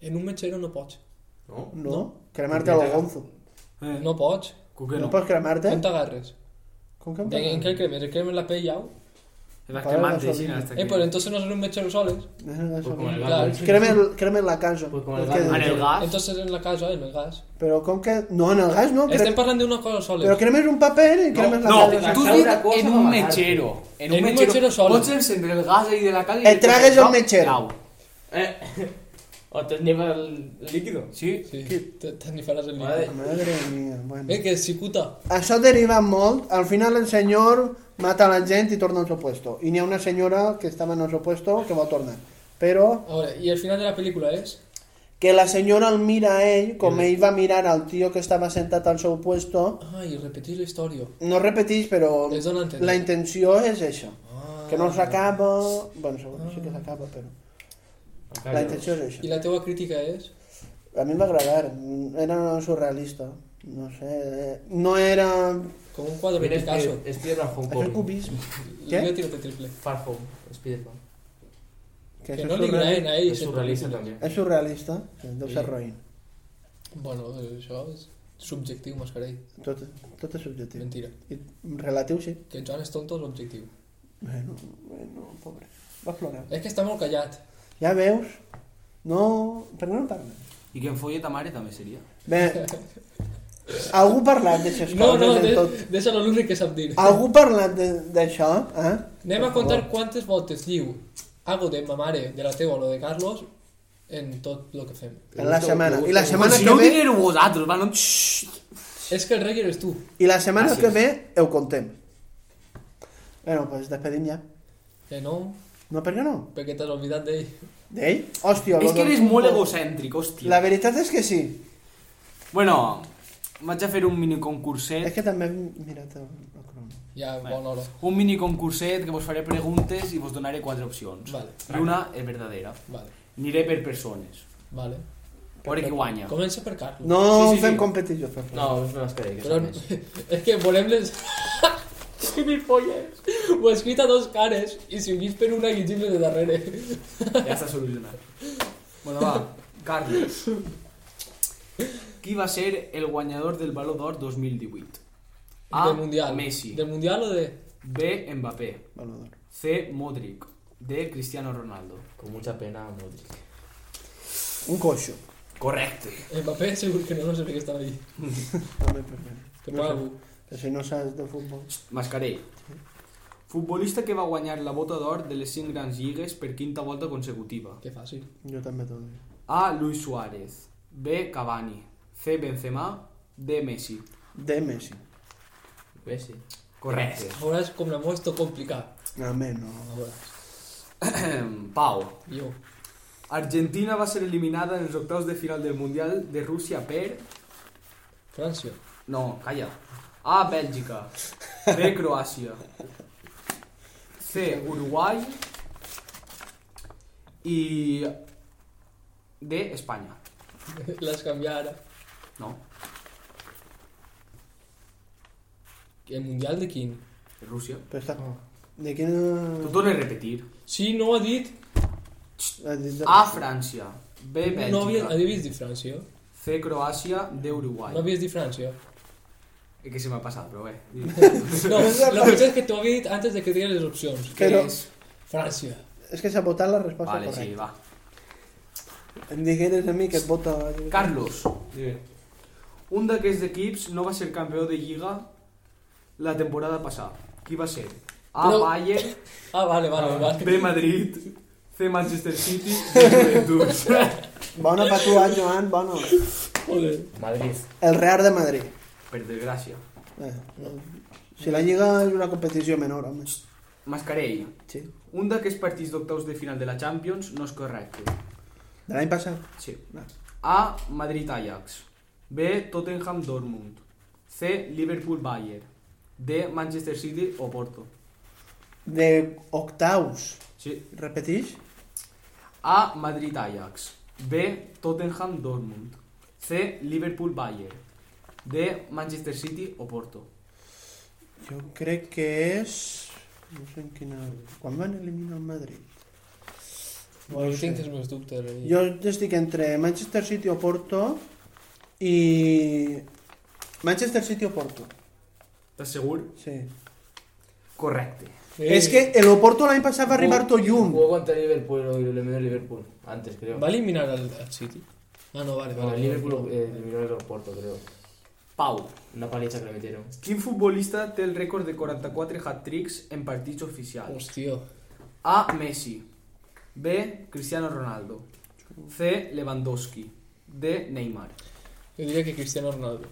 [SPEAKER 2] En un metgero no pots.
[SPEAKER 4] ¿No?
[SPEAKER 1] No? Cremar-te al gonzo.
[SPEAKER 5] Eh,
[SPEAKER 2] No pots.
[SPEAKER 5] com que
[SPEAKER 1] No
[SPEAKER 5] no?
[SPEAKER 1] pots cremar-te?
[SPEAKER 2] Com t'agarres?
[SPEAKER 1] Com que em
[SPEAKER 2] De- ¿En
[SPEAKER 1] parles?
[SPEAKER 2] qué cremes? ¿El cremes la pell au?
[SPEAKER 5] Te vas
[SPEAKER 1] Para
[SPEAKER 5] quemant,
[SPEAKER 1] gasolina.
[SPEAKER 5] Xina, hasta
[SPEAKER 2] Eh,
[SPEAKER 5] que-
[SPEAKER 2] pues entonces no son un mechero soles.
[SPEAKER 1] Eh, això.
[SPEAKER 4] como Pues el
[SPEAKER 2] Claro.
[SPEAKER 4] gato.
[SPEAKER 1] Crema, el- crema la casa.
[SPEAKER 4] Pues com el
[SPEAKER 1] Perquè-
[SPEAKER 4] gas.
[SPEAKER 5] En el gas.
[SPEAKER 2] Entonces en la casa, en el gas.
[SPEAKER 1] Però com que... No, en el gas no.
[SPEAKER 2] Estem
[SPEAKER 1] Crema...
[SPEAKER 2] parlant d'una cosa sola.
[SPEAKER 1] Però cremes un paper i cremes la
[SPEAKER 5] No,
[SPEAKER 1] casa.
[SPEAKER 5] tú
[SPEAKER 4] Una
[SPEAKER 5] dices
[SPEAKER 4] cosa
[SPEAKER 5] en
[SPEAKER 4] para
[SPEAKER 5] un
[SPEAKER 4] matar.
[SPEAKER 5] mechero. En
[SPEAKER 2] En
[SPEAKER 5] un
[SPEAKER 2] un
[SPEAKER 5] mechero,
[SPEAKER 2] mechero solo.
[SPEAKER 5] Pots encendre el gas ahí de la calle. y
[SPEAKER 1] Et
[SPEAKER 5] le pones
[SPEAKER 1] tragues el
[SPEAKER 5] top,
[SPEAKER 1] mechero.
[SPEAKER 5] claro.
[SPEAKER 4] Eh. [LAUGHS] ¿O te lleva el líquido?
[SPEAKER 5] Sí.
[SPEAKER 2] Sí, te- t'ennifaràs el
[SPEAKER 4] Vale.
[SPEAKER 2] líquid.
[SPEAKER 1] Madre mía, bueno.
[SPEAKER 2] Eh, que cicuta.
[SPEAKER 1] Això deriva molt. Al final el senyor mata la gent i torna al seu puesto. I n'hi ha una senyora que estava en el seu puesto que va tornar. Però
[SPEAKER 2] A veure, i el final de la pel·lícula és...
[SPEAKER 1] que la senyora el mira a ell, com ell va mirar al tio que estava sentat al seu puesto,
[SPEAKER 2] Ai, repetir la història.
[SPEAKER 1] no repeteix, però
[SPEAKER 2] Les dona a entendre.
[SPEAKER 1] la intenció és això.
[SPEAKER 2] Ah.
[SPEAKER 1] Que no s'acaba... Bueno, segur sí que s'acaba, però... La intenció és
[SPEAKER 2] I
[SPEAKER 1] això.
[SPEAKER 2] la teva crítica és...
[SPEAKER 1] A mi em va agradar, era surrealista. No sé, eh, no era...
[SPEAKER 2] Com un quadre de
[SPEAKER 4] Mira,
[SPEAKER 2] Picasso.
[SPEAKER 4] Spider- Spider-Man Home
[SPEAKER 1] Això és
[SPEAKER 4] Home.
[SPEAKER 1] cubisme.
[SPEAKER 2] Què?
[SPEAKER 1] Què?
[SPEAKER 2] Jo tiro triple.
[SPEAKER 4] Far Home. Spider-Man.
[SPEAKER 2] Que
[SPEAKER 1] això
[SPEAKER 2] no
[SPEAKER 1] és
[SPEAKER 2] li
[SPEAKER 1] surreal-
[SPEAKER 2] agraden a ells.
[SPEAKER 4] Es surrealista también.
[SPEAKER 1] És surrealista, deu ser
[SPEAKER 4] Sí.
[SPEAKER 1] roïn.
[SPEAKER 2] Bueno, eh, això és subjectiu, mascarell.
[SPEAKER 1] Tot, tot és subjectiu.
[SPEAKER 2] Mentira.
[SPEAKER 1] I relatiu, sí.
[SPEAKER 2] Que el Joan és tonto és objectiu.
[SPEAKER 1] Bueno, bueno, pobre. Va plorar.
[SPEAKER 2] És que està molt callat.
[SPEAKER 1] Ja veus? No... Per què no parles?
[SPEAKER 5] I que en folla ta mare també seria.
[SPEAKER 1] Bé, algú ha parlat d'aixes coses
[SPEAKER 2] No, no,
[SPEAKER 1] de,
[SPEAKER 2] de,
[SPEAKER 1] tot.
[SPEAKER 2] deixa-lo l'únic que sap dir.
[SPEAKER 1] Algú ha parlat de- d'això, eh?
[SPEAKER 2] Anem a contar quantes voltes diu algo de ma mare, de la teva o lo de Carlos en tot el que fem.
[SPEAKER 1] En la setmana. I la
[SPEAKER 5] Però
[SPEAKER 1] setmana
[SPEAKER 5] Pues si
[SPEAKER 1] que
[SPEAKER 5] no ho
[SPEAKER 1] ve,
[SPEAKER 5] digueu vosaltres, va, no... Xxxt.
[SPEAKER 2] És que el rei eres tu.
[SPEAKER 1] i la
[SPEAKER 5] Ah,
[SPEAKER 1] setmana que ve ho contem. Bueno, pues despedim ja.
[SPEAKER 2] Que no,
[SPEAKER 1] No, per què no?
[SPEAKER 2] perquè t'has oblidat d'ell.
[SPEAKER 1] D'ell? Hòstia,
[SPEAKER 5] És
[SPEAKER 1] lo
[SPEAKER 5] que
[SPEAKER 1] del
[SPEAKER 5] eres
[SPEAKER 1] futbol.
[SPEAKER 5] molt egocèntric, hòstia.
[SPEAKER 1] La veritat és que sí.
[SPEAKER 5] Bueno, vaig a fer un miniconcurset.
[SPEAKER 1] És que també hem mirat el, el crono.
[SPEAKER 2] Ja, bona hora.
[SPEAKER 5] Un miniconcurset que vos faré preguntes i vos donaré quatre opcions.
[SPEAKER 2] Vale.
[SPEAKER 5] I una és verdadera.
[SPEAKER 2] Vale,
[SPEAKER 5] Aniré per persones.
[SPEAKER 2] vale.
[SPEAKER 5] Veure qui guanya.
[SPEAKER 2] [LAUGHS] Comença per Carlos.
[SPEAKER 1] No
[SPEAKER 5] Sí, sí,
[SPEAKER 1] fem
[SPEAKER 5] sí.
[SPEAKER 1] competició, per favor.
[SPEAKER 4] No, es una mascarilla. que
[SPEAKER 2] Però [LAUGHS]
[SPEAKER 4] son eso.
[SPEAKER 2] és que volem les...
[SPEAKER 4] Que mil follas.
[SPEAKER 2] [LAUGHS] Ho he escrit a Pues dos cares i si ho guis per una guigim de darrere.
[SPEAKER 5] Ja està solucionat. Bueno, va, Carlos. Qui va ser el guanyador del Baló d'Or 2018? A.
[SPEAKER 2] del Mundial.
[SPEAKER 5] Ah, Messi.
[SPEAKER 2] Del Mundial o de...
[SPEAKER 5] B. Mbappé.
[SPEAKER 1] Valor.
[SPEAKER 5] C. Modric. D. Cristiano Ronaldo.
[SPEAKER 4] Con mucha pena, Modric.
[SPEAKER 1] Un coixo.
[SPEAKER 5] Correcte.
[SPEAKER 2] Mbappé [LAUGHS] segur que no, no sé per què estava allí.
[SPEAKER 1] També per fer.
[SPEAKER 2] Que
[SPEAKER 1] No
[SPEAKER 2] pago.
[SPEAKER 1] sé, que si no saps de futbol.
[SPEAKER 5] Mascarell. Futbolista que va guanyar la bota d'or de les 5 grans lligues per quinta volta consecutiva.
[SPEAKER 2] Que fàcil.
[SPEAKER 1] Jo també t'ho dic.
[SPEAKER 5] A. Luis Suárez. B. Cavani. C. Benzema. D. Messi.
[SPEAKER 1] De Messi.
[SPEAKER 4] Messi.
[SPEAKER 5] Correcte.
[SPEAKER 2] A veuràs com la mort és tot complicat.
[SPEAKER 1] A mi no.
[SPEAKER 2] A veuràs.
[SPEAKER 5] Eh, Pau.
[SPEAKER 2] Jo.
[SPEAKER 5] Argentina va ser eliminada en els octaus de final del Mundial de Rússia per...
[SPEAKER 2] [LAUGHS] França.
[SPEAKER 5] No, calla. A. Bèlgica. B. Croàcia. C. Uruguai. I... D. Espanya.
[SPEAKER 2] L'has canviat ara.
[SPEAKER 5] No,
[SPEAKER 2] El Mundial de quin?
[SPEAKER 5] Rússia.
[SPEAKER 1] Però està... De quina...
[SPEAKER 5] T'ho torno a repetir.
[SPEAKER 2] Sí, no ho ha dit.
[SPEAKER 1] Ha dit Ah, de-
[SPEAKER 5] A. França. B.
[SPEAKER 2] No havia,
[SPEAKER 5] Bèlgica.
[SPEAKER 2] havies dit França.
[SPEAKER 5] C. Croàcia. D.
[SPEAKER 2] No
[SPEAKER 5] Uruguai.
[SPEAKER 2] havies dit França.
[SPEAKER 5] És que se m'ha passat, però bé.
[SPEAKER 2] No, la veritat és que t'ho havia dit antes de que digués les opcions.
[SPEAKER 5] Què
[SPEAKER 1] Però-
[SPEAKER 5] és?
[SPEAKER 2] França.
[SPEAKER 1] És que s'ha votat la resposta
[SPEAKER 5] Vale, sí,
[SPEAKER 1] correcta.
[SPEAKER 5] va.
[SPEAKER 1] Em digueres a mi que et vota...
[SPEAKER 5] Carlos.
[SPEAKER 4] Dime.
[SPEAKER 5] Un d'aquests equips no va ser campió de Lliga la temporada passada. Qui va ser? A.
[SPEAKER 2] Però-
[SPEAKER 5] Bayern.
[SPEAKER 2] Ah, vale, vale, vale. [LAUGHS]
[SPEAKER 5] B. Madrid. C. Manchester City. D. Juventus.
[SPEAKER 1] Bona per tu, eh, Joan, bona.
[SPEAKER 2] Joder.
[SPEAKER 4] Madrid.
[SPEAKER 1] El Real de Madrid.
[SPEAKER 5] Per desgràcia.
[SPEAKER 1] Eh, eh, si la Lliga és una competició menor, home.
[SPEAKER 5] Mascarell.
[SPEAKER 1] Sí.
[SPEAKER 5] Un d'aquests partits d'octaus de final de la Champions no és correcte.
[SPEAKER 1] De l'any passat.
[SPEAKER 5] Sí.
[SPEAKER 1] No.
[SPEAKER 5] A. Madrid Ajax. B. Tottenham Dortmund. C. Liverpool-Bayern. D. Manchester City o Porto.
[SPEAKER 1] De octaus.
[SPEAKER 5] Sí.
[SPEAKER 1] Repetís?
[SPEAKER 5] A. Madrid-Ajax. B. Tottenham-Dortmund. C. Liverpool-Bayern. D. Manchester City o Porto.
[SPEAKER 1] Jo crec que és... No sé en quina... Quan van eliminar el Madrid?
[SPEAKER 2] No
[SPEAKER 1] ho
[SPEAKER 2] jo
[SPEAKER 1] sé.
[SPEAKER 2] tinc els meus dubtes. ahí.
[SPEAKER 1] Jo estic entre Manchester City o Porto i... Manchester City o Porto,
[SPEAKER 5] Estàs segur?
[SPEAKER 1] sí.
[SPEAKER 5] Correcte.
[SPEAKER 2] Eh,
[SPEAKER 1] És que el Oporto l'any passat va arribar tot llum.
[SPEAKER 4] Jugó contra el Liverpool y lo eliminó el Liverpool. Antes, creo.
[SPEAKER 2] ¿Va a eliminar al, al City? Ah, no, vale,
[SPEAKER 4] No,
[SPEAKER 2] vale.
[SPEAKER 4] el Liverpool eh, eliminó el Porto, creo.
[SPEAKER 5] Pau.
[SPEAKER 4] Una paliza que le metieron.
[SPEAKER 5] Quin futbolista té el rècord de 44 hat-tricks en partits oficials?
[SPEAKER 2] Hostia.
[SPEAKER 5] A. Messi. B. Cristiano Ronaldo. C. Lewandowski. D. Neymar.
[SPEAKER 2] Yo diría que Cristiano Ronaldo.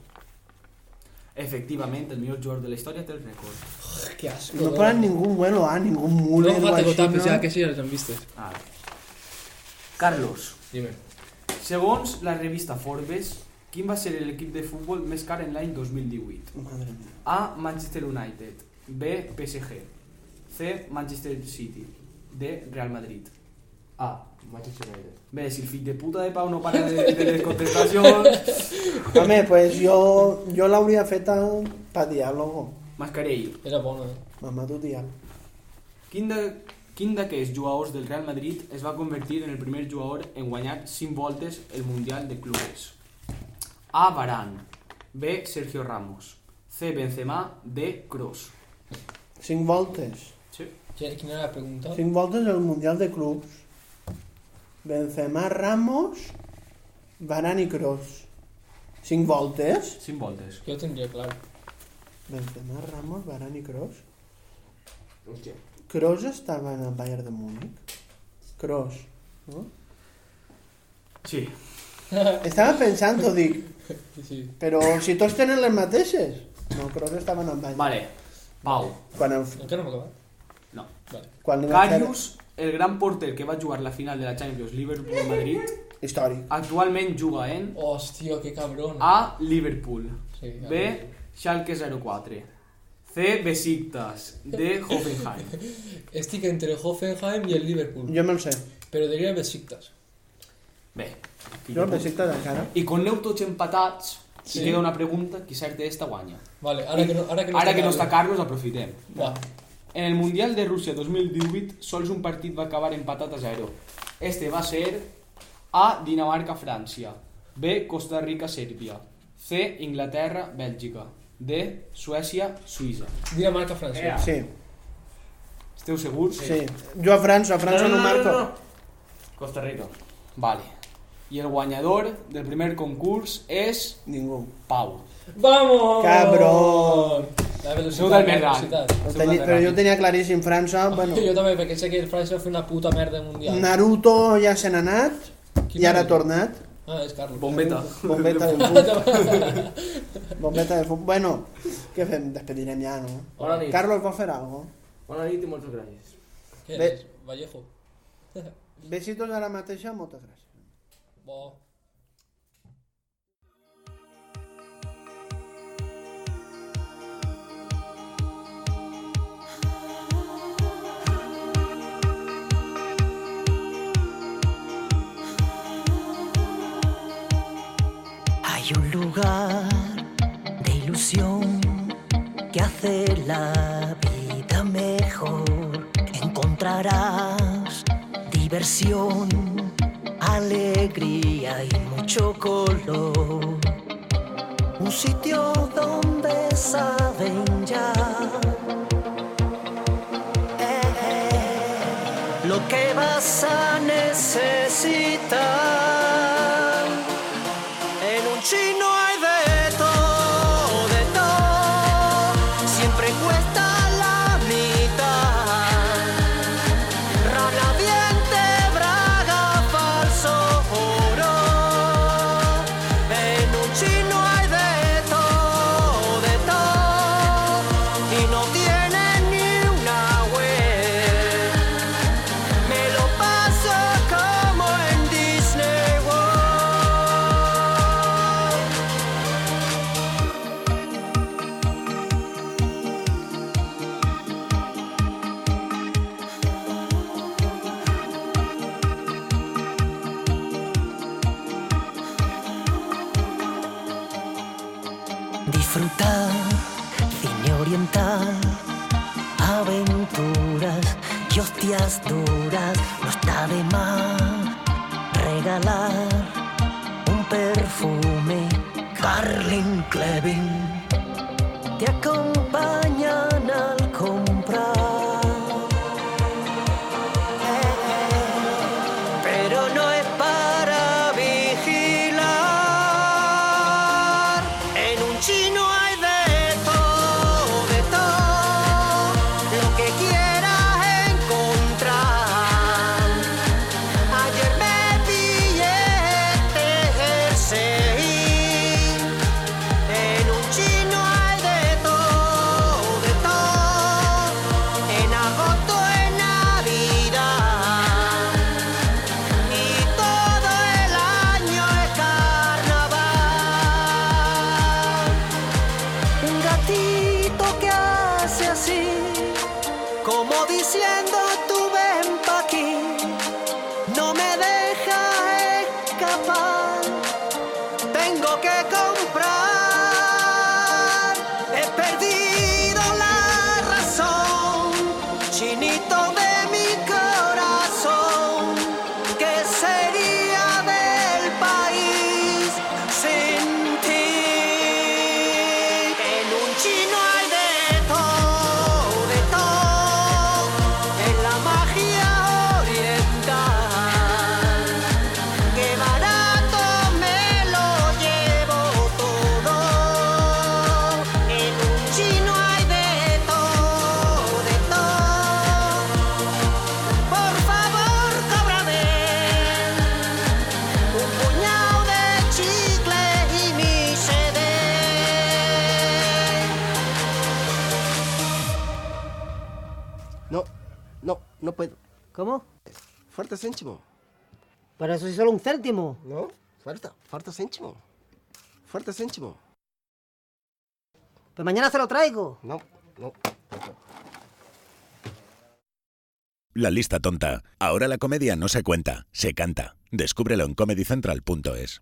[SPEAKER 5] Efectivament, el millor jugador de la història té el rècord.
[SPEAKER 2] Qué asco.
[SPEAKER 1] No ponen ningún bueno ah, A, ningún Müller o
[SPEAKER 2] No, fate
[SPEAKER 1] així,
[SPEAKER 2] cotapes,
[SPEAKER 1] no?
[SPEAKER 2] ya que sí, ya los han visto.
[SPEAKER 5] Ara. Carlos,
[SPEAKER 4] Dime.
[SPEAKER 5] segons la revista Forbes, quin va ser l'equip de futbol més car en l'any 2018?
[SPEAKER 1] Madre mía.
[SPEAKER 5] A. Manchester United. B. PSG. C. Manchester City. D. Real Madrid.
[SPEAKER 4] Ah, Manchester United.
[SPEAKER 5] Bé, si el fill de puta de Pau no para de, de les
[SPEAKER 4] [LAUGHS]
[SPEAKER 5] contestacions...
[SPEAKER 1] Home, pues jo, jo l'hauria fet a- pa diàlogo.
[SPEAKER 5] Mascarell,
[SPEAKER 2] Era bueno, eh.
[SPEAKER 1] Mamà, tu diàleg.
[SPEAKER 5] quin de- quin d'aquests jugadors del Real Madrid es va convertir en el primer jugador en guanyar 5 voltes el Mundial de Clubes? A. Varane B. Sergio Ramos C. Benzema D. Kroos
[SPEAKER 1] Cinc voltes.
[SPEAKER 5] Sí.
[SPEAKER 2] ¿Qui- ¿Quién era la pregunta?
[SPEAKER 1] Cinc voltes al Mundial de Clubs. Benzema, Ramos, Varane i Kroos. Cinc voltes?
[SPEAKER 5] 5 voltes.
[SPEAKER 2] Yo tendría claro.
[SPEAKER 1] Benzema, Ramos, Varane i Kroos.
[SPEAKER 4] Hostia.
[SPEAKER 1] Kroos estava en el Bayern de Múnich. Kroos. No?
[SPEAKER 5] Sí.
[SPEAKER 1] Estava pensant, ho dic,
[SPEAKER 2] Sí, sí.
[SPEAKER 1] però si tots tenen les mateixes. No, Kroos estava en el Bayern.
[SPEAKER 5] Vale. Pau.
[SPEAKER 1] Quan, el,
[SPEAKER 2] Encara no me acaba.
[SPEAKER 5] No.
[SPEAKER 2] Vale.
[SPEAKER 1] quan li van fer-
[SPEAKER 5] Karius, el gran porter que va jugar la final de la Champions Liverpool-Madrid,
[SPEAKER 1] Històric.
[SPEAKER 5] actualment juga en
[SPEAKER 2] Hostia, qué cabrón.
[SPEAKER 5] A. Liverpool
[SPEAKER 2] Sí, claro.
[SPEAKER 5] B. Schalke 04. C. Besiktas. D. Hoffenheim.
[SPEAKER 2] Este que entre Hoffenheim y el Liverpool.
[SPEAKER 1] Jo me'l sé.
[SPEAKER 2] Pero diría Besiktas.
[SPEAKER 5] Bé.
[SPEAKER 1] Jo el Besiktas encara.
[SPEAKER 5] I com aneu tots empatats, si
[SPEAKER 2] Sí.
[SPEAKER 5] queda una pregunta, qui certa esta guanya.
[SPEAKER 2] Vale, ahora que no, ahora que no,
[SPEAKER 5] Ara que no
[SPEAKER 2] Carlos.
[SPEAKER 5] està Carlos, aprofitem.
[SPEAKER 2] Buah.
[SPEAKER 5] En el Mundial de Rússia 2018, sols un partit va acabar empatat a 0. Este va ser A. Dinamarca-França. B. Costa Rica-Sèrbia. C. Inglaterra-Bèlgica. D. Suècia-Suïssa.
[SPEAKER 2] Dinamarca, Francia.
[SPEAKER 1] Sí,
[SPEAKER 5] Esteu segurs?
[SPEAKER 1] sí. Jo a França, a França no, marco.
[SPEAKER 4] Costa Rica.
[SPEAKER 5] Vale. I el guanyador del primer concurs és
[SPEAKER 1] Ningú.
[SPEAKER 5] Pau.
[SPEAKER 2] ¡Vamos!
[SPEAKER 1] Cabrón.
[SPEAKER 2] La velocidad.
[SPEAKER 5] Sou del
[SPEAKER 2] la
[SPEAKER 5] Merda.
[SPEAKER 2] velocidad.
[SPEAKER 1] Ho
[SPEAKER 5] Sou
[SPEAKER 1] teni,
[SPEAKER 5] del
[SPEAKER 1] però jo
[SPEAKER 5] Ferrari.
[SPEAKER 1] tenia claríssim França, [LAUGHS] bueno,
[SPEAKER 2] [LAUGHS] Yo también, porque sé que el Francia fue una puta merda mundial.
[SPEAKER 1] Naruto ja se n'ha anat
[SPEAKER 2] Qui
[SPEAKER 1] i ara ha
[SPEAKER 2] Naruto?
[SPEAKER 1] tornat.
[SPEAKER 2] Ah, es Carlos.
[SPEAKER 5] Bombeta.
[SPEAKER 1] Bombeta [LAUGHS] del fut. Bombeta del fut. Bueno, què fem? Despedirem ja, no?
[SPEAKER 4] Bona nit.
[SPEAKER 1] Carlos, vol fer alguna cosa?
[SPEAKER 4] Bona nit i moltes gràcies.
[SPEAKER 2] [LAUGHS] ¿Qué
[SPEAKER 1] Ve-
[SPEAKER 2] eres? Vallejo.
[SPEAKER 1] Besitos ara mateixa, moltes gràcies.
[SPEAKER 2] Buah.
[SPEAKER 6] Hay un lugar de ilusión que hace la vida mejor. Encontrarás diversión, alegría y mucho color. Un sitio donde saben ya eh, eh, lo que vas a necesitar. En un chino hay de todo, de todo. Siempre cuesta la mitad. Rana diente, braga, falso oro. En un chino hay de todo, de todo. Y no tiene ni una web. Me lo paso cine oriental, aventuras y hostias duras, no está de más regalar un perfume, Carlin Clevin. Te acompañan al comprar pero no es para vigilar. En un chino hay de todo, de todo, lo que quieras encontrar. Ayer me pillé este jersey. En un chino hay de todo, de todo, en agosto, en Navidad. Y todo el año es carnaval. Un gatito que hace así, como diciendo tú ven pa' aquí, no me dejas escapar, tengo que comprar. He perdido la razón, chinito de mi corazón. ¿Qué sería del país sin ti? En un chino hay de todo, de todo, en la magia oriental. Qué barato me lo llevo todo. En un chino hay de todo, de todo. Por favor, cóbrame un puñado de chicle y mi CD.
[SPEAKER 7] No, no, no puedo.
[SPEAKER 8] ¿Cómo?
[SPEAKER 7] Falta céntimo,
[SPEAKER 8] Para eso sí solo un céntimo.
[SPEAKER 7] ¿no? Falta, falta céntimo. Falta céntimo.
[SPEAKER 8] Pues mañana se lo traigo.
[SPEAKER 7] No, no.
[SPEAKER 9] La lista tonta. Ahora la comedia no se cuenta, se canta. Descúbrelo en comedycentral.es.